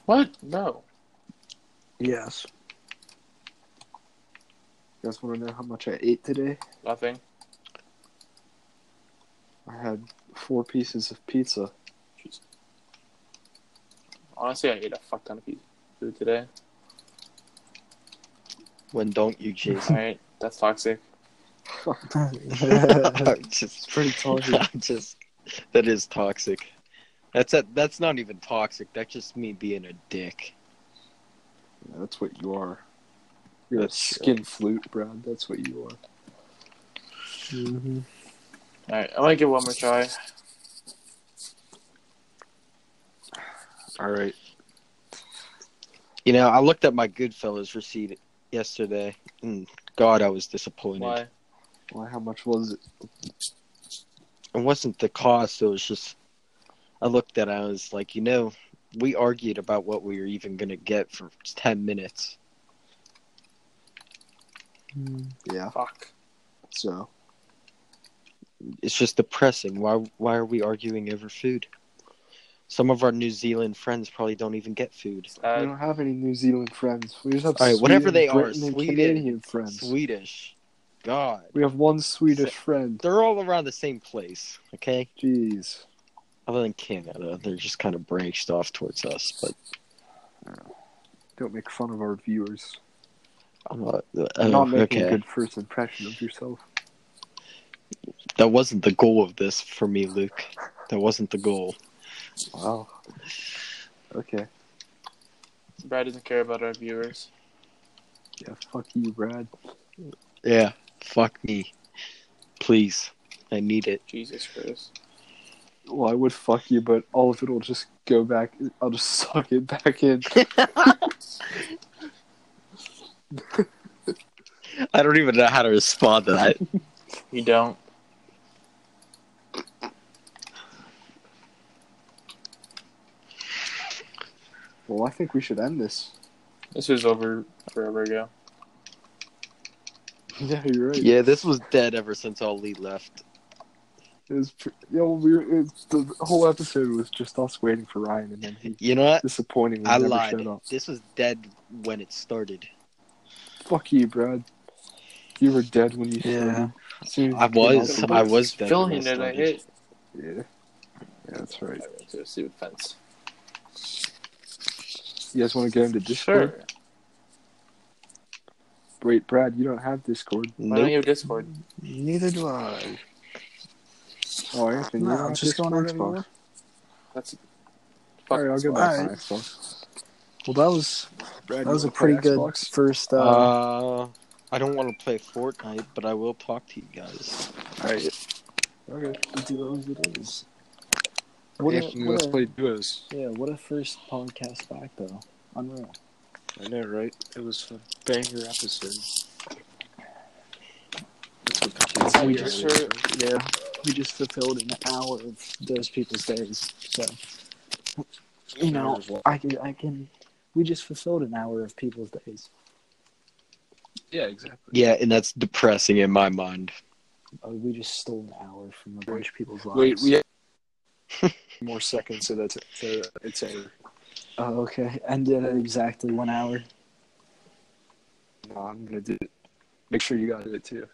Speaker 5: What? No.
Speaker 4: Yes.
Speaker 2: You guys want to know how much I ate today?
Speaker 5: Nothing.
Speaker 2: I had four pieces of pizza.
Speaker 5: Honestly, I ate a fuck ton of pizza food today.
Speaker 6: When don't you, Jason?
Speaker 5: Alright, that's toxic.
Speaker 4: Mm-hmm.
Speaker 6: I'm just pretty toxic. I'm just that is toxic. That's a, that's not even toxic. That's just me being a dick.
Speaker 2: Yeah, that's what you are. You're
Speaker 6: That's
Speaker 2: a
Speaker 6: true.
Speaker 2: skin flute, Brad. That's what you are.
Speaker 4: hmm
Speaker 5: Alright, I'm gonna give one more try.
Speaker 7: All right.
Speaker 6: You know, I looked at my Goodfellas receipt yesterday, and God, I was disappointed.
Speaker 5: Why?
Speaker 2: Why? How much was it?
Speaker 6: It wasn't the cost. It was just I looked at. it, I was like, you know, we argued about what we were even gonna get for ten minutes.
Speaker 2: Yeah.
Speaker 5: Fuck.
Speaker 2: So
Speaker 6: it's just depressing. Why why are we arguing over food? Some of our New Zealand friends probably don't even get food.
Speaker 2: we
Speaker 5: Uh,
Speaker 2: don't have any New Zealand friends. We just have
Speaker 6: All right, whatever
Speaker 2: Sweden,
Speaker 6: they are,
Speaker 2: Britain, and
Speaker 6: Sweden-
Speaker 2: Canadian friends.
Speaker 6: Swedish. God.
Speaker 2: We have one Swedish friend.
Speaker 6: They're all around the same place, okay?
Speaker 2: Jeez.
Speaker 6: Other than Canada, they're just kind of branched off towards us. But
Speaker 2: Don't make fun of our viewers.
Speaker 6: I'm not.
Speaker 2: You're
Speaker 6: oh,
Speaker 2: not making
Speaker 6: okay,
Speaker 2: a good first impression of yourself.
Speaker 6: that wasn't the goal of this for me, Luke. That wasn't the goal.
Speaker 2: Wow. Okay.
Speaker 5: Brad doesn't care about our viewers.
Speaker 2: Yeah. Fuck you, Brad.
Speaker 6: Yeah. Fuck me, please. I need it.
Speaker 5: Jesus Christ.
Speaker 2: Well, I would fuck you, but all of it will just go back. I'll just suck it back in.
Speaker 6: I don't even know how to respond to that.
Speaker 5: You don't.
Speaker 2: Well, I think we should end this.
Speaker 5: This was over forever ago.
Speaker 2: Yeah, you're right.
Speaker 6: Yeah, this was dead ever since Ali left.
Speaker 2: It was, pr- you know, we were, it's, the whole episode was just us waiting for Ryan, and then he
Speaker 6: You know what?
Speaker 2: disappointingly
Speaker 6: I
Speaker 2: never
Speaker 6: lied.
Speaker 2: showed up.
Speaker 6: This was dead when it started.
Speaker 2: Fuck you, Brad. You were dead when you
Speaker 4: Yeah.
Speaker 2: started. Soon as
Speaker 6: I
Speaker 2: you came out
Speaker 6: was.
Speaker 2: the
Speaker 6: I
Speaker 2: woods.
Speaker 6: was dead.
Speaker 5: Phil,
Speaker 6: when
Speaker 5: you
Speaker 6: it
Speaker 5: know that
Speaker 6: started.
Speaker 5: hit.
Speaker 2: Yeah. yeah, that's right.
Speaker 5: I went to a stupid fence.
Speaker 2: You guys want to go into Discord?
Speaker 5: Sure.
Speaker 2: Wait, Brad, you don't have Discord.
Speaker 5: Why don't
Speaker 6: Nope.
Speaker 5: you have Discord?
Speaker 4: Neither do I.
Speaker 2: Oh, Anthony,
Speaker 4: No,
Speaker 2: you don't have
Speaker 4: I'm just
Speaker 2: Discord
Speaker 4: going on
Speaker 2: anymore?
Speaker 4: Xbox.
Speaker 5: That's fuck.
Speaker 2: Alright, I'll go
Speaker 5: Xbox.
Speaker 2: back
Speaker 4: Alright.
Speaker 2: on Xbox.
Speaker 4: Well, that was
Speaker 2: Brad,
Speaker 4: that
Speaker 2: you
Speaker 4: was a
Speaker 2: wanna play
Speaker 4: pretty good
Speaker 2: Xbox?
Speaker 4: first. Uh,
Speaker 6: Uh, I don't want to play Fortnite, but I will talk to you guys.
Speaker 2: Okay.
Speaker 4: duos it is.
Speaker 7: What
Speaker 4: What
Speaker 7: if
Speaker 4: a-
Speaker 7: you
Speaker 4: what
Speaker 7: let's
Speaker 4: a-
Speaker 7: play duos?
Speaker 4: Yeah, what a first podcast back though. Unreal.
Speaker 7: I know, right? It was a banger episode. That's what the kids
Speaker 4: We
Speaker 7: do,
Speaker 4: just
Speaker 7: really.
Speaker 5: heard-
Speaker 4: Yeah, we just fulfilled an hour of those people's days. So, you know, I can, I can. We just fulfilled an hour of people's days.
Speaker 7: Yeah, exactly.
Speaker 6: Yeah, and that's depressing in my mind.
Speaker 4: Uh, we just stole an hour from a bunch of people's lives.
Speaker 7: Wait, we have more seconds, so that's so it's over.
Speaker 4: Oh, okay. Ended at exactly one hour.
Speaker 2: No, I'm gonna do it. Make sure you got it too.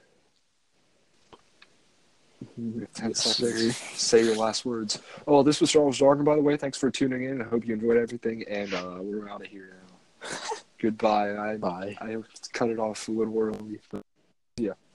Speaker 2: We have Ten seconds. Say your last words. Oh, this was Charles Dargan, by the way. Thanks for tuning in. I hope you enjoyed everything, and uh, we're out of here now. Goodbye. I
Speaker 6: Bye.
Speaker 2: I cut it off a little early, but yeah.